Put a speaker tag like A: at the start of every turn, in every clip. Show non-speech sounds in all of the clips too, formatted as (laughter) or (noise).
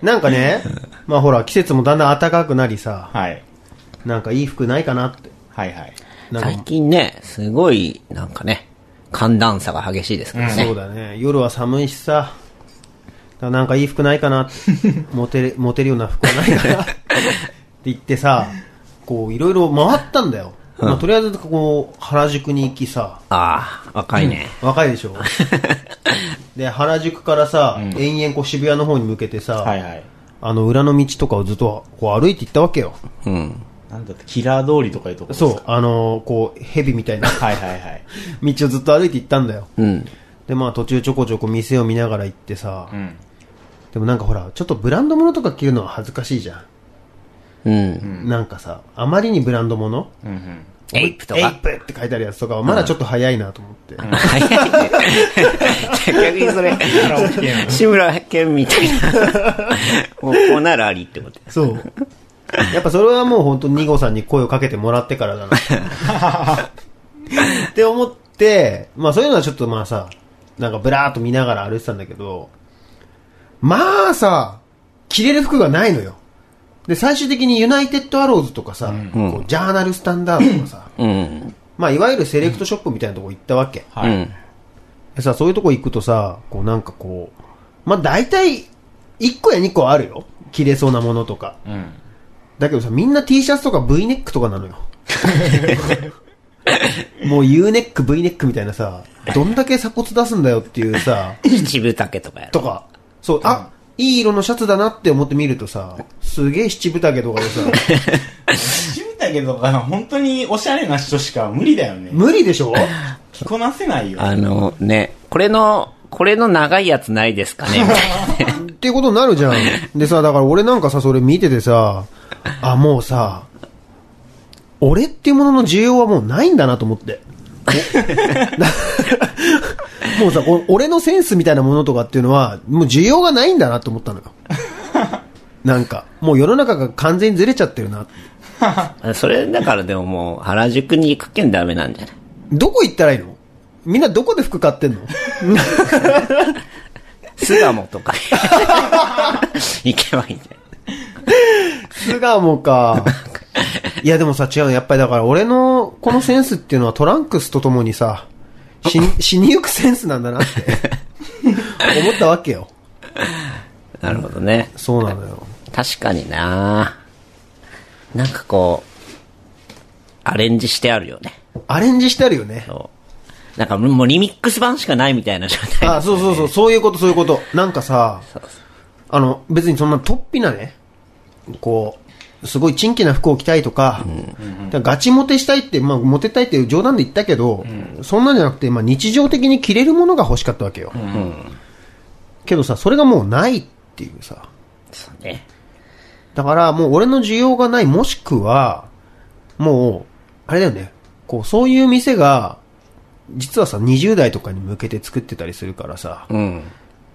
A: なんかね、まあほら、季節もだんだん暖かくなりさ、
B: はい。
A: なんかいい服ないかなって。
B: はいはい。
A: なん
C: 最
A: か、
C: 近ね、すごい、なんかね、寒暖差が激しいですからね。
A: そうだね。夜は寒いしさ、だからなんかいい服ないかなって。モテれ、モテるような服はないかなって言ってさ、こう、いろいろ回ったんだよ。まあとりあえず、こう、原宿に行きさ、
C: ああ、若いね。
A: 若いでしょで、原宿からさ、延々こう渋谷の方に向けてさ、
B: はいはい。
A: あの裏の道とかをずっとこう歩いていったわけよ。
C: うん。
B: なんだって、キラー通りとかいうとこですか
A: そう、あのーこう、蛇みたいな
B: はいはいはい。
A: (laughs) 道をずっと歩いていったんだよ。
C: うん。
A: で、まあ途中ちょこちょこ店を見ながら行ってさ、
B: うん。
A: でもなんかほら、ちょっとブランド物とか着るのは恥ずかしいじゃ
C: うん。
A: ん。なんかさ、あまりにブランド物
B: うんうん。
C: エイプと
A: エイ
C: か。
A: プって書いてあるやつとかはまだちょっと早いなと思って。
C: 早いね。逆にそれ、 (laughs) 志村けんみたいな。こうこうならありってこと
A: (laughs) そう。やっぱそれはもう本当に二号さんに声をかけてもらってから (laughs) だな。って思って、まあそういうのはちょっとまあさ、なんかブラーっと見ながら歩いてたんだけど、まあさ、着れる服がないのよ。で、最終的にユナイテッドアローズとかさ、こうジャーナルスタンダードとか (coughs) さ、
C: うん。
A: まあいわゆるセレクトショップみたいなとこ行ったわけ。
C: う
B: はい。
C: ん。
A: でさ、そういうとこ行くとさ、こうなんかこう、まあ大体、1個や2個あるよ。着れそうなものとか。
B: うん。
A: だけどさ、みんな T シャツとか V ネックとかなのよ。もう U ネック、V ネックみたいなさ、どんだけ鎖骨出すんだよっていうさ、
C: 七分丈とかやろ。
A: とか、そう、あ、いい色のシャツだなって思って見るとさ、すげえ七分丈とかでさ、
B: 七分だけど、本当におしゃれな人しか無理だよね。
A: 無理でしょ
B: 着こなせないよ。
C: あのね、これの、これの長いやつないですかねみたいなね
A: っていうことになるじゃん。でさ、だから俺なんかさ、それ見ててさ、あ、もうさ、俺っていうものの需要はもうないんだなと思って。 (laughs) もうさ、この俺のセンスみたいなものとかっていうのは、もう需要がないんだなと思ったのよ。なんか、もう世の中が完全にずれちゃってるな。
C: あそれだからでももう原宿に行くけんダメなんじゃない
A: どこ行ったらいいのみんなどこで服買ってんの
C: 巣鴨とか行けばいいんじゃない
A: 巣鴨か。いやでもさ、違うの。やっぱりだから俺のこのセンスっていうのはトランクスとともにさ、死に、死にゆくセンスなんだなって思ったわけよ。
C: なるほどね。
A: そうなのよ。
C: 確かにななんかこう、アレンジしてあるよね。
A: アレンジしてあるよね。
C: そう。なんかもうリミックス版しかないみたいな状態。
A: あ、そうそうそう、そういうこと、そういうこと。なんかさ、あの、別にそんな突飛なね、こう、すごいチンキな服を着たいとか、だからガチモテしたいって、まあ、モテたいっていう冗談で言ったけど、そんなんじゃなくて、まあ、日常的に着れるものが欲しかったわけよ。けどさ、それがもうないっていうさ。
C: そうね。
A: だから、もう俺の需要がない、もしくは、もう、あれだよね、こう、そういう店が、実はさ、20代とかに向けて作ってたりするからさ、
C: うん。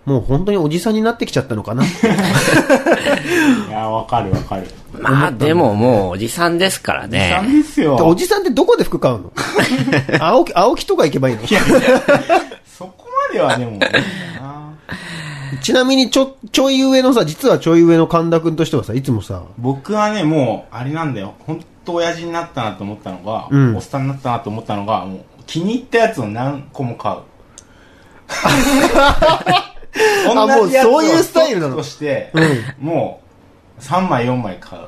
A: もう本当におじさんになってきちゃったの
B: (laughs)
A: かなって。
B: いや、わかるわかる。
C: まあでももうおじさんですから
B: な
C: ね。
B: んですよ。
A: おじさんってどこで服買う
B: (laughs)
A: の青木、青木とか行けばいいの
B: そこまではでも。な
A: ちなみにちょ、ちょい上のさ、実はちょい上の神田くんとしてはさ、いつもさ、
B: 僕はね、もう、あれなんだよ。本当親父になったなと思ったのが、
A: うん
B: おっさんになったなと思ったのが、もう気に入ったやつを何個も買
A: (laughs)
B: う。
A: もうそういうスタイルなの
B: として、もう、3枚4枚買う。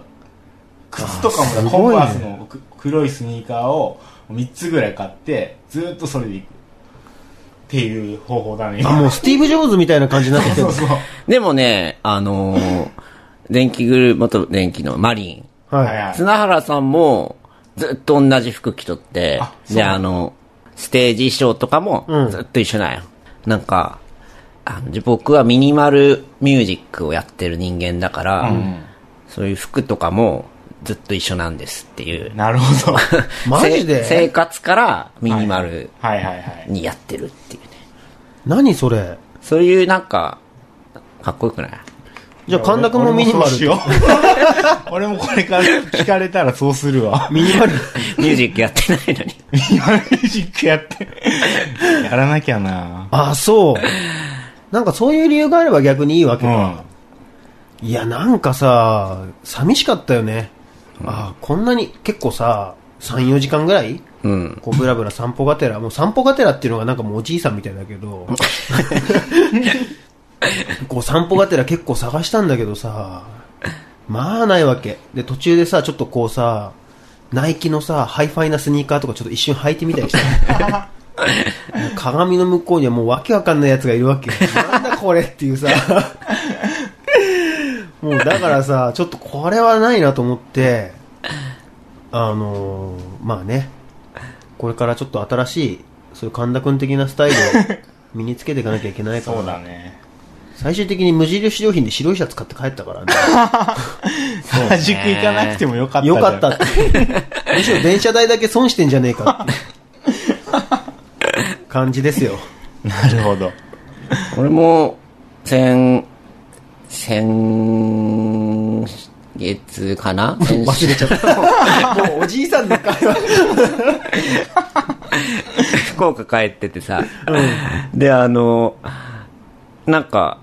B: 靴とかも
A: あーすごいね
B: だ、コンバースのく黒いスニーカーを3つぐらい買って、ずーっとそれでいく。っていう方法だね、
A: あ、もうスティーブ・ジョーズみたいな感じになってきてる
B: (laughs) そう。そう。
C: でもね、あのー電気グルー、元電気のマリン。
B: はい
A: は。
B: はいい
C: 綱原さんもずっと同じ服着とって
B: あ、そう
C: で、あの、ステージ衣装とかも
A: うん
C: ずっと一緒なんよ。なんか、あの僕はミニマルミュージックをやってる人間だから、そういう服とかもずっと一緒なんですっていう。
B: なる
A: (laughs)
B: ほど。
A: マジで
C: せ生活からミニマル
B: はいはいはい。
C: にやってるっていうね。
A: 何それ
C: そういうなんか、かっこよくない (laughs)
A: じゃあ神田くんもミニマル。
B: 俺もそうしよう (laughs) 俺もこれから聞かれたらそうするわ。 (laughs)
A: ミニマル。
C: ミュージックやってないのに。
B: ミニマルミュージックやって。やらなきゃな
A: あ、そう。なんかそういう理由があれば逆にいいわけ
B: う
A: か。
B: ん。
A: いや、なんかさ、寂しかったよね。ああ、こんなに、結構さ、3、4時間ぐらい
C: うん。
A: こう、ブラブラ散歩がてら、もう散歩がてらっていうのがなんかもうおじいさんみたいだけ
C: (laughs)
A: ど、こう、散歩がてら結構探したんだけどさ、まあないわけ。で、途中でさ、ちょっとこうさ、ナイキのさ、ハイファイなスニーカーとかちょっと一瞬履いてみた
C: (laughs)
A: りしたのもう鏡の向こうにはもうわけわかんないやつがいるわけよ。なんだこれっていうさ、もうだから (laughs) さ、ちょっとこれはないなと思って、あのーまあね、これからちょっと新しい、そういう神田君的なスタイル (laughs) を身につけていかなきゃいけないから、
B: そうだね。
A: 最終的に無印良品で白いシャツ買って帰ったからね。
B: 原宿行かなくてもよかった。
A: よか (laughs) ったっ。て。むしろ電車代だけ損してんじゃねえか (laughs) っていう感じですよ。
B: なるほど。
C: 俺も、先、先月
A: (laughs)
C: かな先
A: 忘れちゃった。 (laughs) もうおじいさんの会話。
C: 福岡帰っててさ、で、あの、なんか、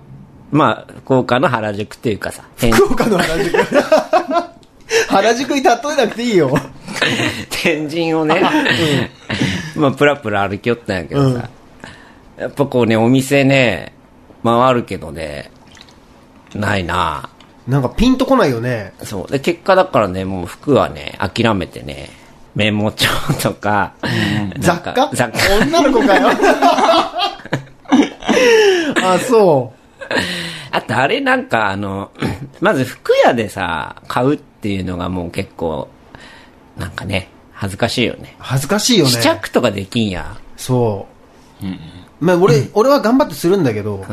C: まあ、福岡の原宿っていうかさ、転
A: 福岡の原宿。 (laughs) 原宿に例えなくていいよ。
C: 天神をね、 (laughs) まあ、プラプラ歩きよったんやけどさ、やっぱこうね、お店ね、回るけどね、ないな
A: なんかピンとこないよね。
C: そう。で、結果だからね、もう服はね、諦めてね、メモ帳とか、なん
A: 雑
C: か
A: 貨
C: 雑貨
A: 女の子か
C: (laughs)
A: よ。あ、そ
C: あとあれなんかあの、 (clears throat) まず服屋でさ、買うっていうのがもう結構、なんかね、恥ずかしいよね。
A: う。恥ずかしいよね。
C: 試着とかできんや。
A: そう。まあ、俺、俺は頑張ってするんだけど、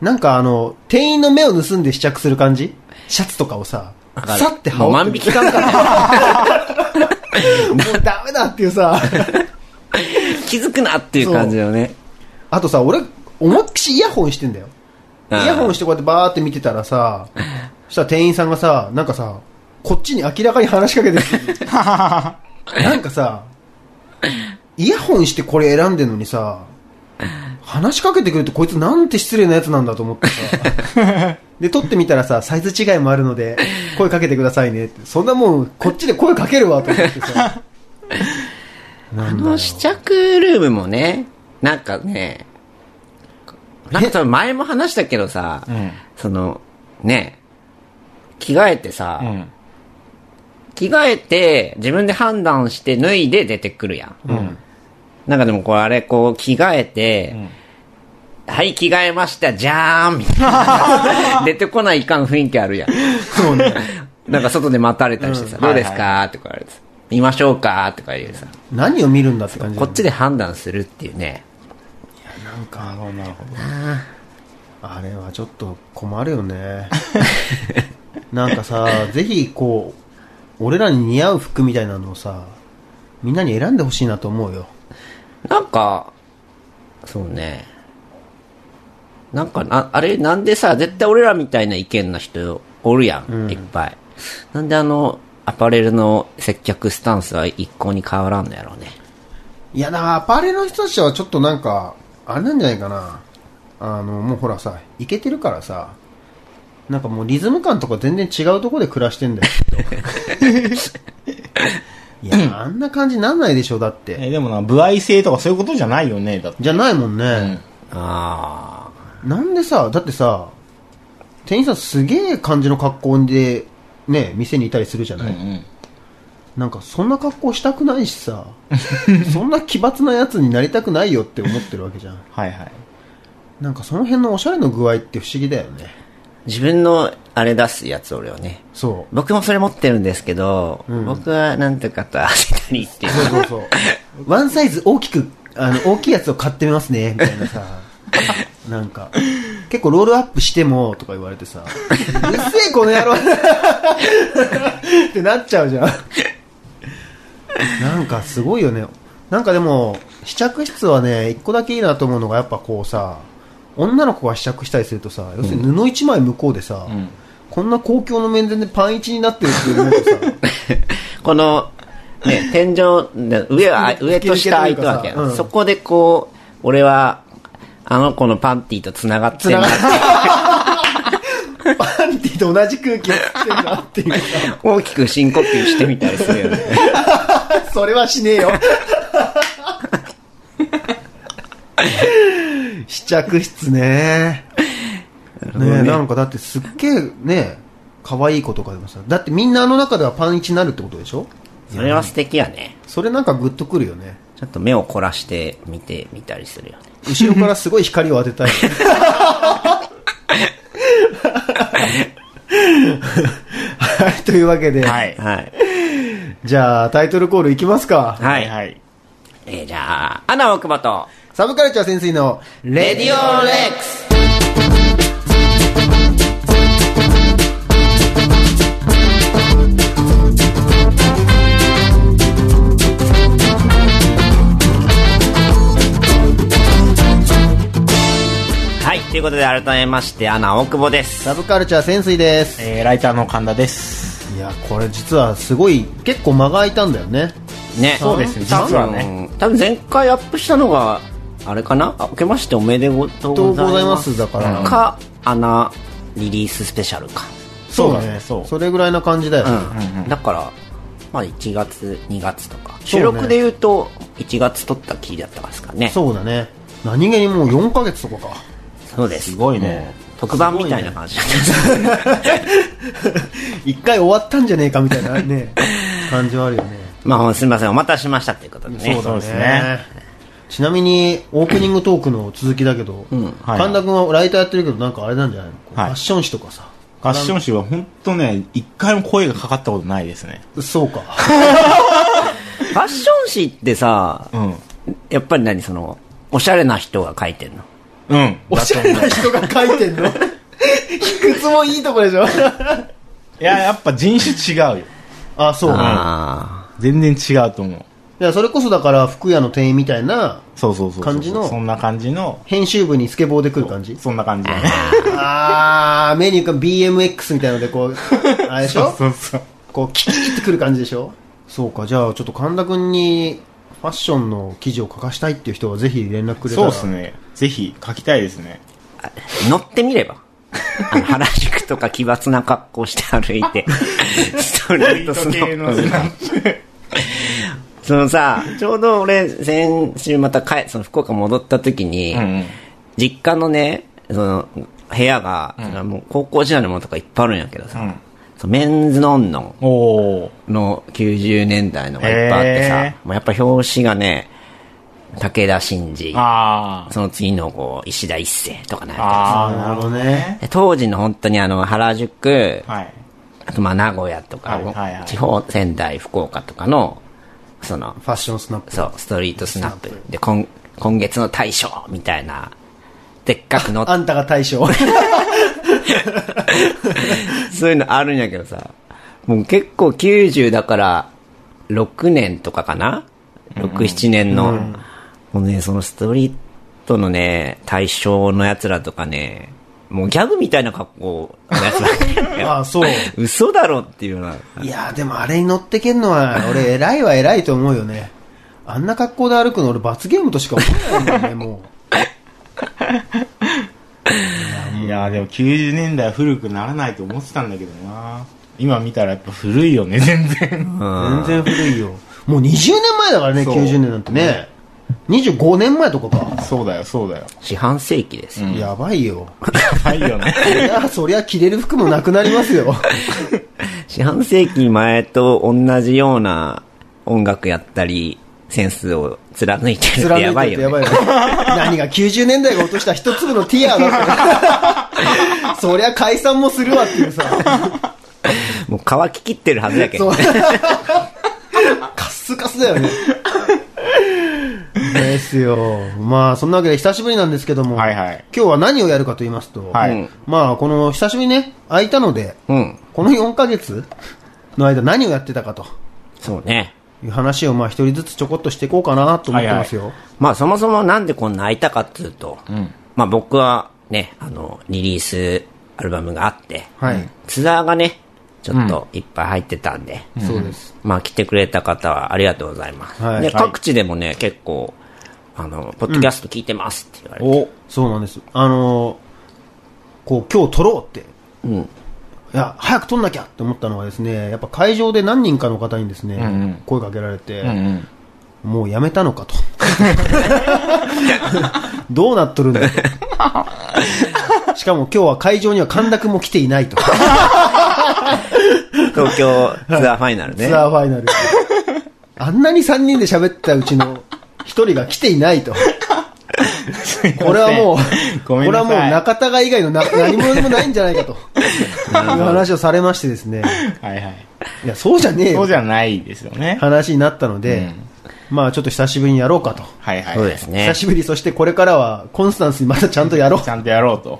A: なんかあの、店員の目を盗んで試着する感じシャツとかをさ、さって羽
C: もう万
A: 織って
C: 引き感覚だよ
A: (laughs) もうダメだっていうさ、
C: 気づくなっていう感じよね。
A: あとさ、俺、思いっきしイヤホンしてんだよ。イ
C: あー
A: ヤホンしてこうやってバーって見てたらさ、そしたら店員さんがさ、なんかさ、こっちに明らかに話しかけてる。なんかさ、イヤホンしてこれ選んでんのにさ、話しかけてくるってこいつなんて失礼なやつなんだと思ってさ。で、撮ってみたらさ、サイズ違いもあるので、声かけてくださいねって。そんなもん、こっちで声かけるわと思ってさ。な
C: あ
A: んだよ
C: の試着ルームもね、なんかね、なんか多分前も話したけどさ、
B: ん
C: その、ね、着替えてさ、
B: うん。
C: 着替えて、自分で判断して脱いで出てくるやん。なんかでもこれあれ、こう着替えて、はい、着替えました、じゃーんみたいな。出てこないかん雰囲気あるやん。
A: そうね。
C: なんか外で待たれたりしてさ、
B: うん
C: どうです
B: は
C: かって言われてさ、見ましょうかとか言うさ、
A: 何を見るんだって感じだ
C: こ
A: よね
C: っちで判断するっていうね。
A: なん
B: な
A: か
B: る、ほど、なるほど。
A: あれはちょっと困るよね。 (laughs) なんかさ、ぜひこう、俺らに似合う服みたいなのをさ、みんなに選んでほしいなと思うよ。
C: なんか、そうね。なんかな、あれ、なんでさ、絶対俺らみたいな意見の人おるやん、いっぱい。なんであの、アパレルの接客スタンスは一向に変わらんのやろうね。
A: いや、だからアパレルの人たちはちょっとなんか、あれなんじゃないかな。あの、もうほらさ、いけてるからさ、なんかもうリズム感とか全然違うとこで暮らしてんだ
B: (laughs)
A: よ。きっといや、あんな感じなんないでしょ、だって。
B: え、でもな、歩合制とかそういうことじゃないよね、だって。
A: じゃないもんね。
C: あ
A: なんでさ、だってさ、店員さんすげえ感じの格好で、ね、店にいたりするじゃない、
B: ん。
A: なんかそんな格好したくないし (laughs) さ、そんな奇抜なやつになりたくないよって思ってるわけじゃん。
B: はいはい。
A: なんかその辺のおしゃれの具合って不思議だよね。
C: あ。自分の、あれ出すやつ俺はね。
A: そう。
C: 僕もそれ持ってるんですけど、僕はなんとかと汗たりっていう。
A: そうそうそう。 (laughs) ワンサイズ大きく、あの、大きいやつを買ってみますね、みたいな (laughs) さ。なんか、結構ロールアップしても、とか言われてさ、うっせえ、この野郎ってなっちゃうじゃん。なんかすごいよね。なんかでも、試着室はね、一個だけいいなと思うのが、やっぱこうさ、女の子が試着したりするとさ、要するに布一枚向こうでさ、こんな公共の面前でパン一になってるっていうのとさ、
C: この、 (laughs) ね、天井、上は、上と下空いたわけやん、
A: うん
C: そこでこう、俺は、あの子のパンティーと繋がってんな
A: パンテ人と同じ空気を吸ってんだっていう (laughs) さ
C: (laughs) 大きく深呼吸してみたりするよね。 (laughs)
A: それはしねえよ。 (laughs) 試着室ね。ねえなんかだってすっげえね、可愛い子とかでもさ、だってみんなあの中ではパンイチになるってことでしょ
C: それは素敵やね。
A: それなんかグッとくるよね。
C: ちょっと目を凝らして見てみたりするよね。
A: 後ろからすごい光を当てたい。 (laughs) はい、というわけで、
B: はい。
C: はい。
A: じゃあタイトルコールいきますか。
C: はい。
B: はい。
C: えーじゃあ、アナ・オクバと、
A: サブカルチャー潜水の
C: レディオレックスはい、ということで改めまして、アナ・大久保です。
A: サブカルチャー潜水です。
B: えー、ライターの神田です。
A: いや、これ実はすごい、結構間が空いたんだよね。
C: ね。
B: そうですね、実
C: 多
B: はね。
C: 分、多分前回アップしたのが、あれかなあ明けましておめでとう
A: と
C: ご
A: うござ
C: ざ
A: い
C: い
A: ま、
C: ますす。
A: だから。
C: か、アナリリーススペシャルか。
B: そうだね、そう。
A: それぐらいな感じだよ、ね
C: うん、だから、まあ、1月2月とか収録で言うと1月撮ったきりだったからですかねそう
A: そうだね。何気にもう4ヶ月とか (laughs) か。
C: です
B: すごいね。
C: 特番みたいな感じだったんです
A: 一回終わったんじゃねえかみたいなね、感じはあるよね。
C: (laughs) まあほんすみませんお待たせしましたっていうことでね
B: そうですね。
A: ちなみに、オープニングトークの続きだけど、
B: はい
A: 神田君はライターやってるけど、なんかあれなんじゃないの、こう
B: はい
A: ファッション誌とかさ。
B: ファッション誌は本当ね、一回も声がかかったことないですね。
A: そうか。
C: ファッション誌ってさ
B: うん。
C: やっぱり何そのおしゃれな人が書いてんの
B: うん。
A: おしゃれな人が書いてんの卑屈もいいとこでしょ
B: いや、やっぱ人種違うよ。
A: あ、そう。
C: あ
B: 全然違うと思う。
A: いや、それこそだから、服屋の店員みたいな、
B: そうそうそうそう。
A: 感じの
B: そんな感じの。
A: 編集部にスケボーで来る感 (laughs) じ
B: そんな感じだね。
A: あー、メニューか BMX みたいので、こう、あれでしょ
B: そうそう。
A: こう、キキキってくる感じでしょそうか、じゃあ、ちょっと神田くんに、ファッションの記事を書かしたいっていう人は、ぜひ連絡くれた
B: そう
A: ら。
B: ですね。ぜひ書きたいですね。
C: ー乗ってみればあの原宿とか奇抜な格好して歩い (laughs) てストリートスノーそのさちょうど俺先週また帰その福岡戻った時に、
B: うんうん。
C: 実家のね、その、部屋が、そのもう高校時代のものとかいっぱいあるんやけどさ、
B: うん
C: そのメンズノンノ
B: (laughs) おー。
C: ンの90年代のがいっぱいあってさ、
B: へー
C: もうやっぱ表紙がね、武田真治、
B: あー。
C: その次のこう、石田一世とかね。
B: あー、
A: な
B: な
A: る
B: る
A: ほ
B: ほ
A: ど
B: どね。
A: ね。
C: で当時の本当にあの、原宿、
B: はい。
C: あとまあ名古屋とか、
B: はいはいはい
C: 地方、仙台、福岡とかの、その、
A: ファッションスナップ。
C: そう、ストリートスナップ。で、今、今月の大賞みたいな、でっかく載っ
A: (laughs) あんたが大将。
C: (laughs) そういうのあるんやけどさ、もう結構90だから、6年とかかな ?6、7年の、もうね、そのストリートのね、対象のやつらとかね、もうギャグみたいな格好のやつらが (laughs) ね
A: あ、そう。
C: 嘘だろっていうのは。
A: いやーでもあれに乗ってけんのは、俺、偉いは偉いと思うよね。あんな格好で歩くの、俺、罰ゲームとしか思えないんだよね、もう。
B: いやーでも90年代は古くならないと思ってたんだけどな今見たらやっぱ古いよね全然
A: 全然古いよもう20年前だからね
B: そう
A: 90年なんてね25年前とかか、
B: そうだよそうだよ
C: 四半世紀ですよ。
A: やばい
B: (laughs)
A: よ
B: はいよね
A: いやそりゃ着れる服もなくなりますよ
B: (laughs)
C: 四半世紀前と同じような音楽やったり、センスを貫いてるってやばい
A: てや
C: よ
A: ば
C: ね。
A: いよ
B: (laughs)
A: ね何が90年代が落とした一粒のティアだ
B: (laughs)
A: ってそりゃ解散もするわっていうさ
C: もう乾ききってるはずやけ
A: そ
C: ど
A: う。 (laughs) カッスカスだよねですよまあそんなわけで久しぶりなんですけども、
B: はいはい
A: 今日は何をやるかと言いますと、
B: はい、
C: うん
A: まあこの久しぶりにね空いたので
C: うん。
A: この4ヶ月の間何をやってたかと
C: そうね。
A: いう話をまあ一人ずつちょこっとしていこうかなと思ってますよ。
C: まあそもそもなんでこんな空いたかっつうと、まあ僕はね、あの、リリースアルバムがあって、
A: はい
C: ツアーがね、ちょっといっぱい入ってたんで、
A: そうです。
C: まあ来てくれた方はありがとうございます。
A: はい
C: で、
A: はい
C: 各地でもね、結構、あの、ポッドキャスト聞いてますって言われて、
A: おそうなんです。あのーこう今日撮ろうって、いや、早く撮んなきゃって思ったのはですね、やっぱ会場で何人かの方にですね、
B: んうん
A: 声かけられて、
B: うんうん。
A: もうやめたのかと。 (laughs) どうなっとるんだ (laughs) と。しかも今日は会場には神田くんも来ていないと。
C: 東京ツアーファイナルね。
A: ツアーファイナル。 (laughs) あんなに3人で喋ったうちの1人が来てい (laughs) ないと。これはもう、
B: ご
A: こ
B: め
A: れ
B: んな
A: は
B: さい
A: もう中田が以外のな何者でもないんじゃないか (laughs) と。いう話をされましてですね。
B: はいはい。
A: いや、そうじゃねえ
B: そう
A: よ。
B: じゃないですよね。
A: 話になったので、まあちょっと久しぶりにやろうかと。
B: はいはい。
C: そうですね
A: 久。しぶり、そしてこれからはコンスタンスにまたちゃんとやろう
B: ち。ゃんとやろうと。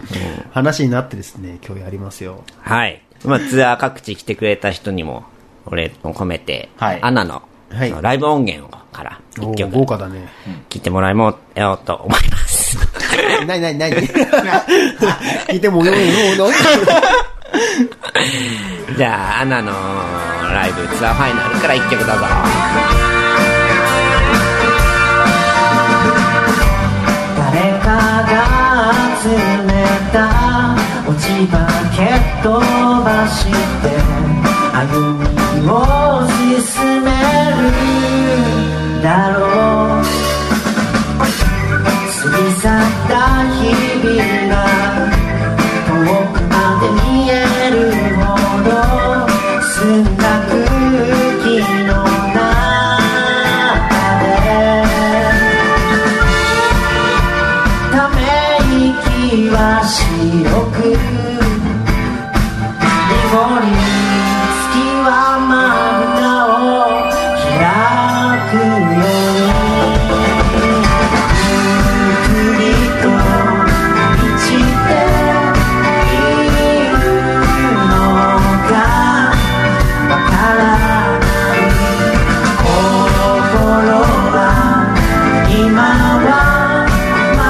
A: 話になってですね、今日やりますよ。
C: はい。まあ、ツアー各地来てくれた人にも、お礼を込めて、
B: はい
C: アナの、
A: はい
C: そのライブ音源をから、
A: お
C: 一
A: ー
C: 曲、
A: 豪華だね。
C: 聞いてもらえもようと思います。
A: (laughs)
C: (laughs)
A: ないないない。 (laughs) 聞いてもよいよ
C: じゃあ、アナのライブツアーファイナルから一曲どうぞ。
D: 誰かが集めた落ち葉蹴っ飛ばして歩みを進めるだろう過ぎ去った日々が遠くまで見えるほど澄んだ空気の中でため息は白く濁り月はまぶたを開くようにゆっくりと満ちているのがわからない心は今はま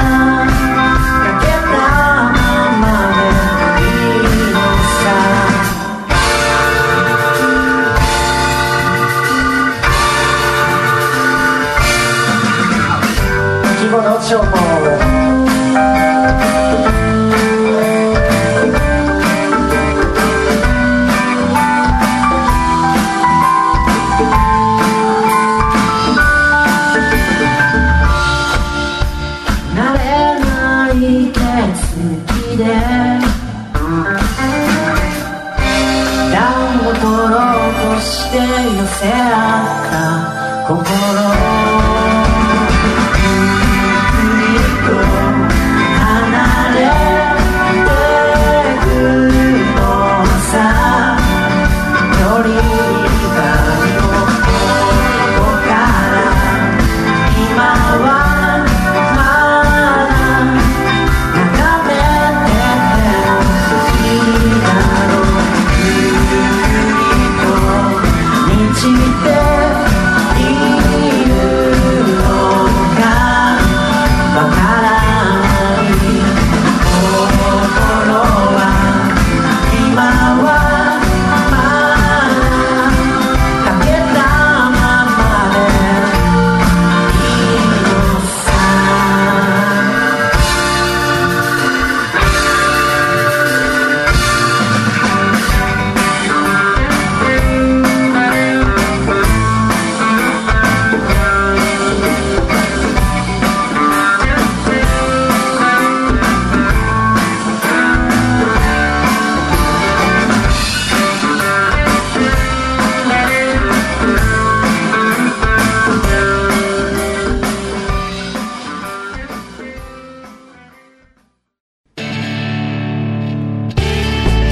D: だ「かけたままでいいのさ」「季語の情報を」慣れない手つきで暖を取ろうとして寄せ合った心ゆっくりと離れてくのさよりがここから今はまだ眺めているのいいだろうゆっくりと満ちているのがわからない心は今はまだかけたままで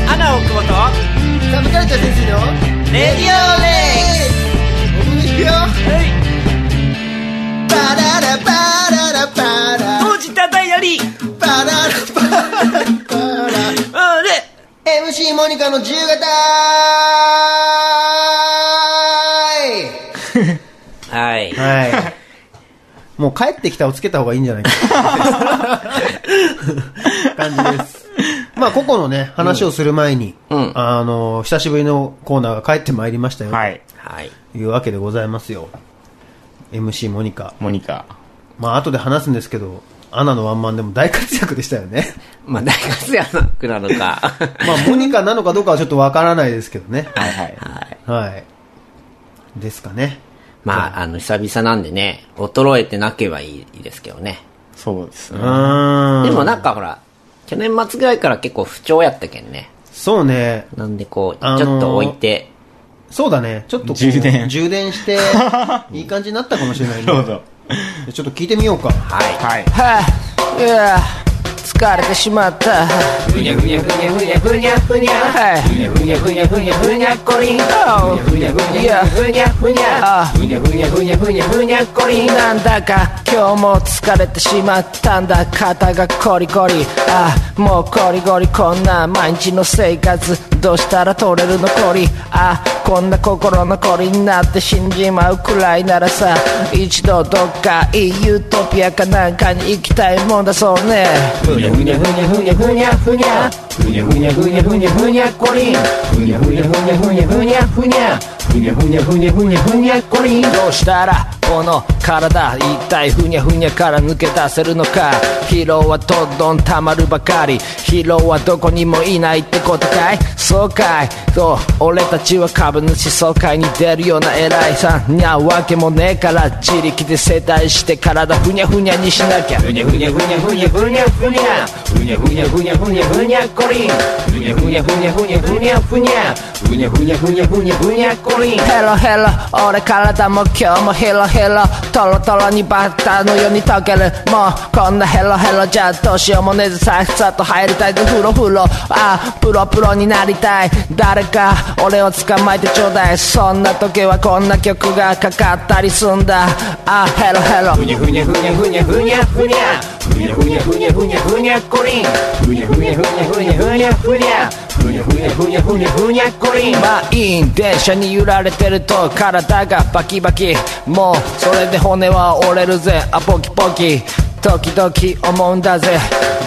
C: アナを久保と、
A: サブカルチャー先生の
C: レディオレ
A: お見せよパララパララパラ
C: イ当時ただより、
A: パララパララパ
C: うん、で、
A: ラ MC モニカの自由形
C: はい。
A: はい。もう帰ってきたをつけた方がいいんじ
C: (laughs)
A: ゃないか。感じです。まあ、個々のね、話をする前に、
C: うん
A: あの、久しぶりのコーナーが帰ってまいりましたよ。
B: はい。
C: はい。
A: というわけでございますよ。MC モニカ。
B: モニカ。
C: (laughs)
A: まあ、後で話すんですけど、アナのワンマンでも大活躍でしたよね。
C: まあ、大活躍なの (laughs) か。
A: まあ、モニカなのかどうかはちょっとわからないですけどね。
B: はいはい。
C: はい。
A: はい。ですかね。
C: まあ、あの、久々なんでね、衰えてなければいいですけどね。
B: そうです
A: う
B: ね。
A: ーん。
C: でもなんかほら、去年末ぐらいから結構不調やったけんね。
A: そうね。
C: なんでこう、
A: あのー
C: ちょっと置いて、
A: そうだね。ちょっとこう
B: 充電
A: 充電 (laughs) して、いい感じになったかもしれないね。
B: なるほど。
A: ちょっと聞いてみようか。
C: はい。
B: はい。
E: はあ、いやあ疲れてしまった
D: ふにゃふにゃふにゃふにゃふにゃふにゃ
E: はい
D: ふにゃふにゃふにゃふにゃふにゃこりん
E: あ
D: ふにゃふにゃふにゃふにゃふにゃふにゃふにゃふにゃふにゃこりん
E: なんだか今日も疲れてしまったんだ肩がコリコリああもうコリゴリこんな毎日の生活どうしたら取れるのコリああこんな心のコリになって死んじまうくらいならさ一度どっかいいユートピアかなんかに行きたいもんだそうね
D: ふにゃふにゃふにゃふにゃふにゃふにゃふにゃふにゃふにゃふにゃふにゃこりんふにゃふにゃふにゃふにゃふにゃふにゃふにゃふにゃふにゃふにゃふにゃこりん
E: どうしたらこの体一体ふにゃふにゃから抜け出せるのか疲労はどんどん溜まるばかり疲労はどこにもいないってことかいそうかいそう俺たちは株主総会に出るような偉いさんにゃわけもねえから自力で世帯して体ふにゃふにゃにしなきゃ
D: ふにゃふにゃふにゃふにゃふにゃふにゃふにゃふにゃふにゃふにゃふにゃこりんふにゃふにゃふにゃふにゃふにゃふにゃふにゃふにゃふにゃふにゃふにゃこりん
E: ヘロヘロ俺体も今日もヘロヘロトロトロにバッターのように溶けるもうこんなヘロヘロじゃどうしようもねえぜさっさと入りたいぜ風呂風呂ああプロプロになりたい誰か俺を捕まえてちょうだいそんな時はこんな曲がかかったりすんだああヘロヘロ
D: ふにゃふにゃふにゃふにゃふにゃふにゃふにゃふにゃふにゃふにゃふにゃこりんふにゃふにゃふにゃふにゃふにゃふにゃふにゃふにゃふにゃふにゃふにゃこりん
E: 満員電車に揺られてると体がバキバキもうそれで骨は折れるぜあポキポキ時々思うんだぜ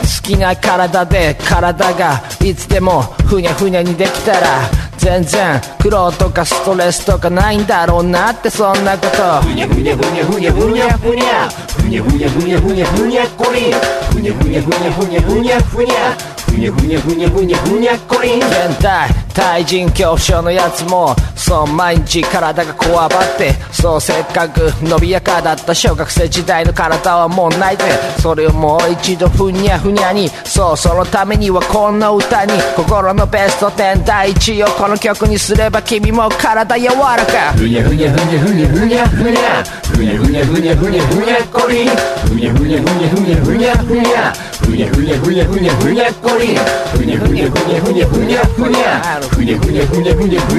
E: 好きな体で体がいつでもふにゃふにゃにできたら全然苦労とかストレスとかないんだろうなってそんなこと
D: ふにゃふにゃふにゃふにゃふにゃふにゃふにゃふにゃふにゃふにゃふにゃこりんふにゃふにゃふにゃふにゃふにゃふにゃふにゃふにゃふにゃふにゃふにゃこりん
E: 現代対人恐怖症のやつもそう毎日体がこわばってそうせっかく伸びやかだった小学生時代の体はもうないぜそれをもう一度ふにゃふにゃにそうそのためにはこんな歌に心のベスト10第1位をこの曲にすれば君も体柔らか
D: ふにゃふにゃふにゃふにゃふにゃふにゃふにゃふにゃふにゃふにゃふにゃこりんふにゃふにゃふにゃふにゃふにゃふにゃふにゃふにゃふにゃふにゃふにゃこりんふにゃふにゃふにゃふにゃふにゃふにゃふにゃふにゃふにゃふにゃふ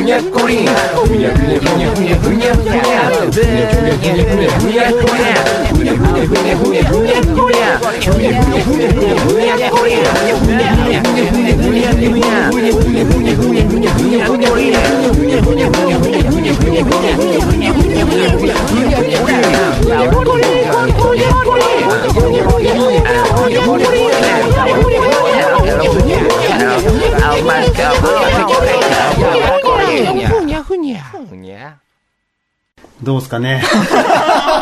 D: にゃこりんふにゃふにゃふにゃふにゃふにゃふにゃふにゃふにゃふにゃふにゃこりんふにゃふにゃふにゃふにゃふにゃこりんふにゃふにゃふにゃふにゃふにゃこりんふにゃふにゃふにゃふにゃふにゃふにゃふにゃふにゃふにゃふにゃふにゃふにゃこりんふにゃふにゃふにゃふにゃふにゃふにゃふにゃ
A: どうすかね。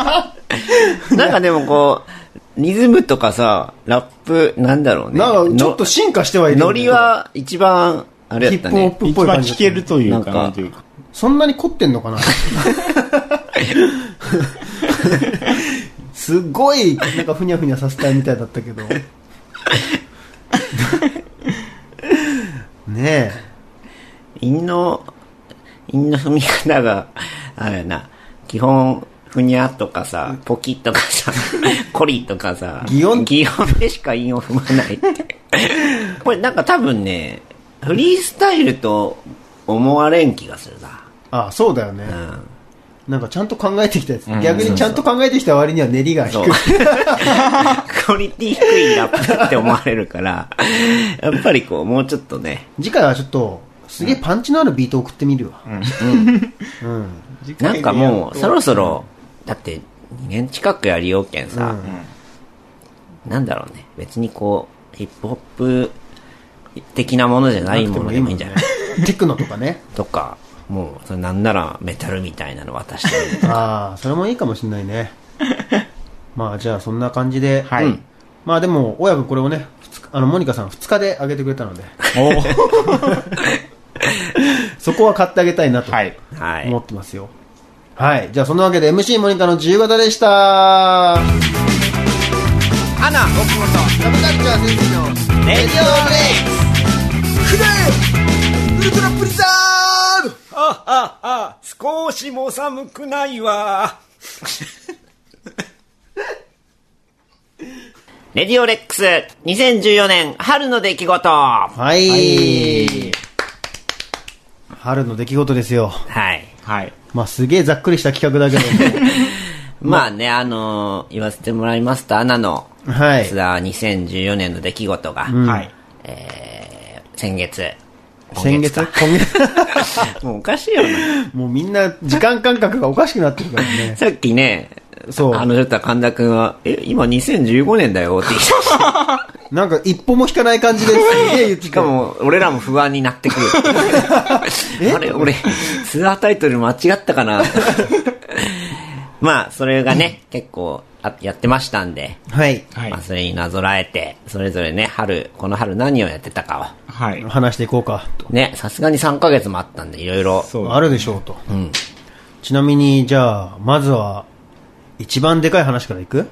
C: (laughs) なんかでもこう、リズムとかさ、ラップ、なんだろうね。
A: なんか、ちょっと
C: の
A: 進化してはいるんだ
C: ノ
A: けど。
C: リは一番、あれ
A: ヒ
C: やっ
A: ッ
C: た
A: プ
C: ね。
A: ホップっ
B: 一
A: ぽい
B: 番
A: 感じ。
B: 聞けるというか、
C: なんか
B: なんというか。
A: そんなに凝ってんのか (laughs) なすごい、なんかふにゃふにゃさせたいみたいだったけ (laughs) ど。ね
C: 陰の、陰の踏み方が、あれやな、基本、ふにゃとかさ、ポキとか
A: (laughs)
C: さ、コリとかさ、
A: 擬音
C: 擬音でしか陰を踏まな
A: (laughs)
C: いって。これなんか多分ね、フリースタイルと思われん気がするな。
A: え。あ、そうだよね。
C: うん。
A: なんかちゃんと考えてきたやつ。逆にちゃんと考えてきた割には練りが低
C: そう
A: (laughs) い。。
C: クオリティ低いラップって思われるから、やっぱりこう、もうちょっとね、
A: 次回はちょっと、すげえパンチのあるビート送ってみるわ。
C: なんかもう、そろそろ、だって、2年近くやりようけんさ、なんだろうね、別にこう、ヒップホップ的なものじゃないものでもいいんじゃない
A: テクノとか
C: (laughs)
A: ね。
C: とか、もう、それなんならメタルみたいなの渡して (laughs) みる
A: ああ、それもいいかもしれないね。まあじゃあそんな感じで。
B: はい
A: うんまあでも、親分これをね、普二日あの、モニカさん2日であげてくれたので、
B: おー
A: (laughs) そこは買ってあげたいなと
B: はい。
C: はい
A: 思。ってますよ。はい。じゃあ、そんなわけで MC モニタの自由形でした。アナ、奥本、サブカルチャー先生の
C: レディオブレイ
F: あああ少しも寒くないわ
C: レディオレックス2014年春の出来事は
A: はい、春の出来事ですよ。
C: い。
B: はい。
A: まあ、すげえざっくりした企画だけ
C: (laughs)
A: ども
C: まあね、あのー言わせてもらいますと、アナの
A: はい。
C: ツアー2014年の出来事が、
B: はい。
C: えー、先月。
A: 先月
C: か
A: 今月
C: (laughs) もうおかしいよな。
A: もうみんな時間感覚がおかしくなってるから (laughs) ね。
C: さっきね、
A: そう
C: あの、ちょっと神田くんは、え、今2015年だよって言ってた
A: なんか一歩も引か (laughs) ない感じですげえ言って
C: しかも、俺らも不安になってく
A: (laughs)
C: る。あれ、俺、ツアータイトル間違ったかな (laughs) まあ、それがね、結構あやってましたんで、
A: はい。
B: はい
C: まあ、。それになぞらえて、それぞれね、春、この春何をやってたか
B: はい。
A: 話していこうかと。
C: を。ね、さすがに3ヶ月もあったんで、いろいろ。
B: そう。
A: あるでしょうと。ちなみに、じゃあ、まずは、一番でかい話からいく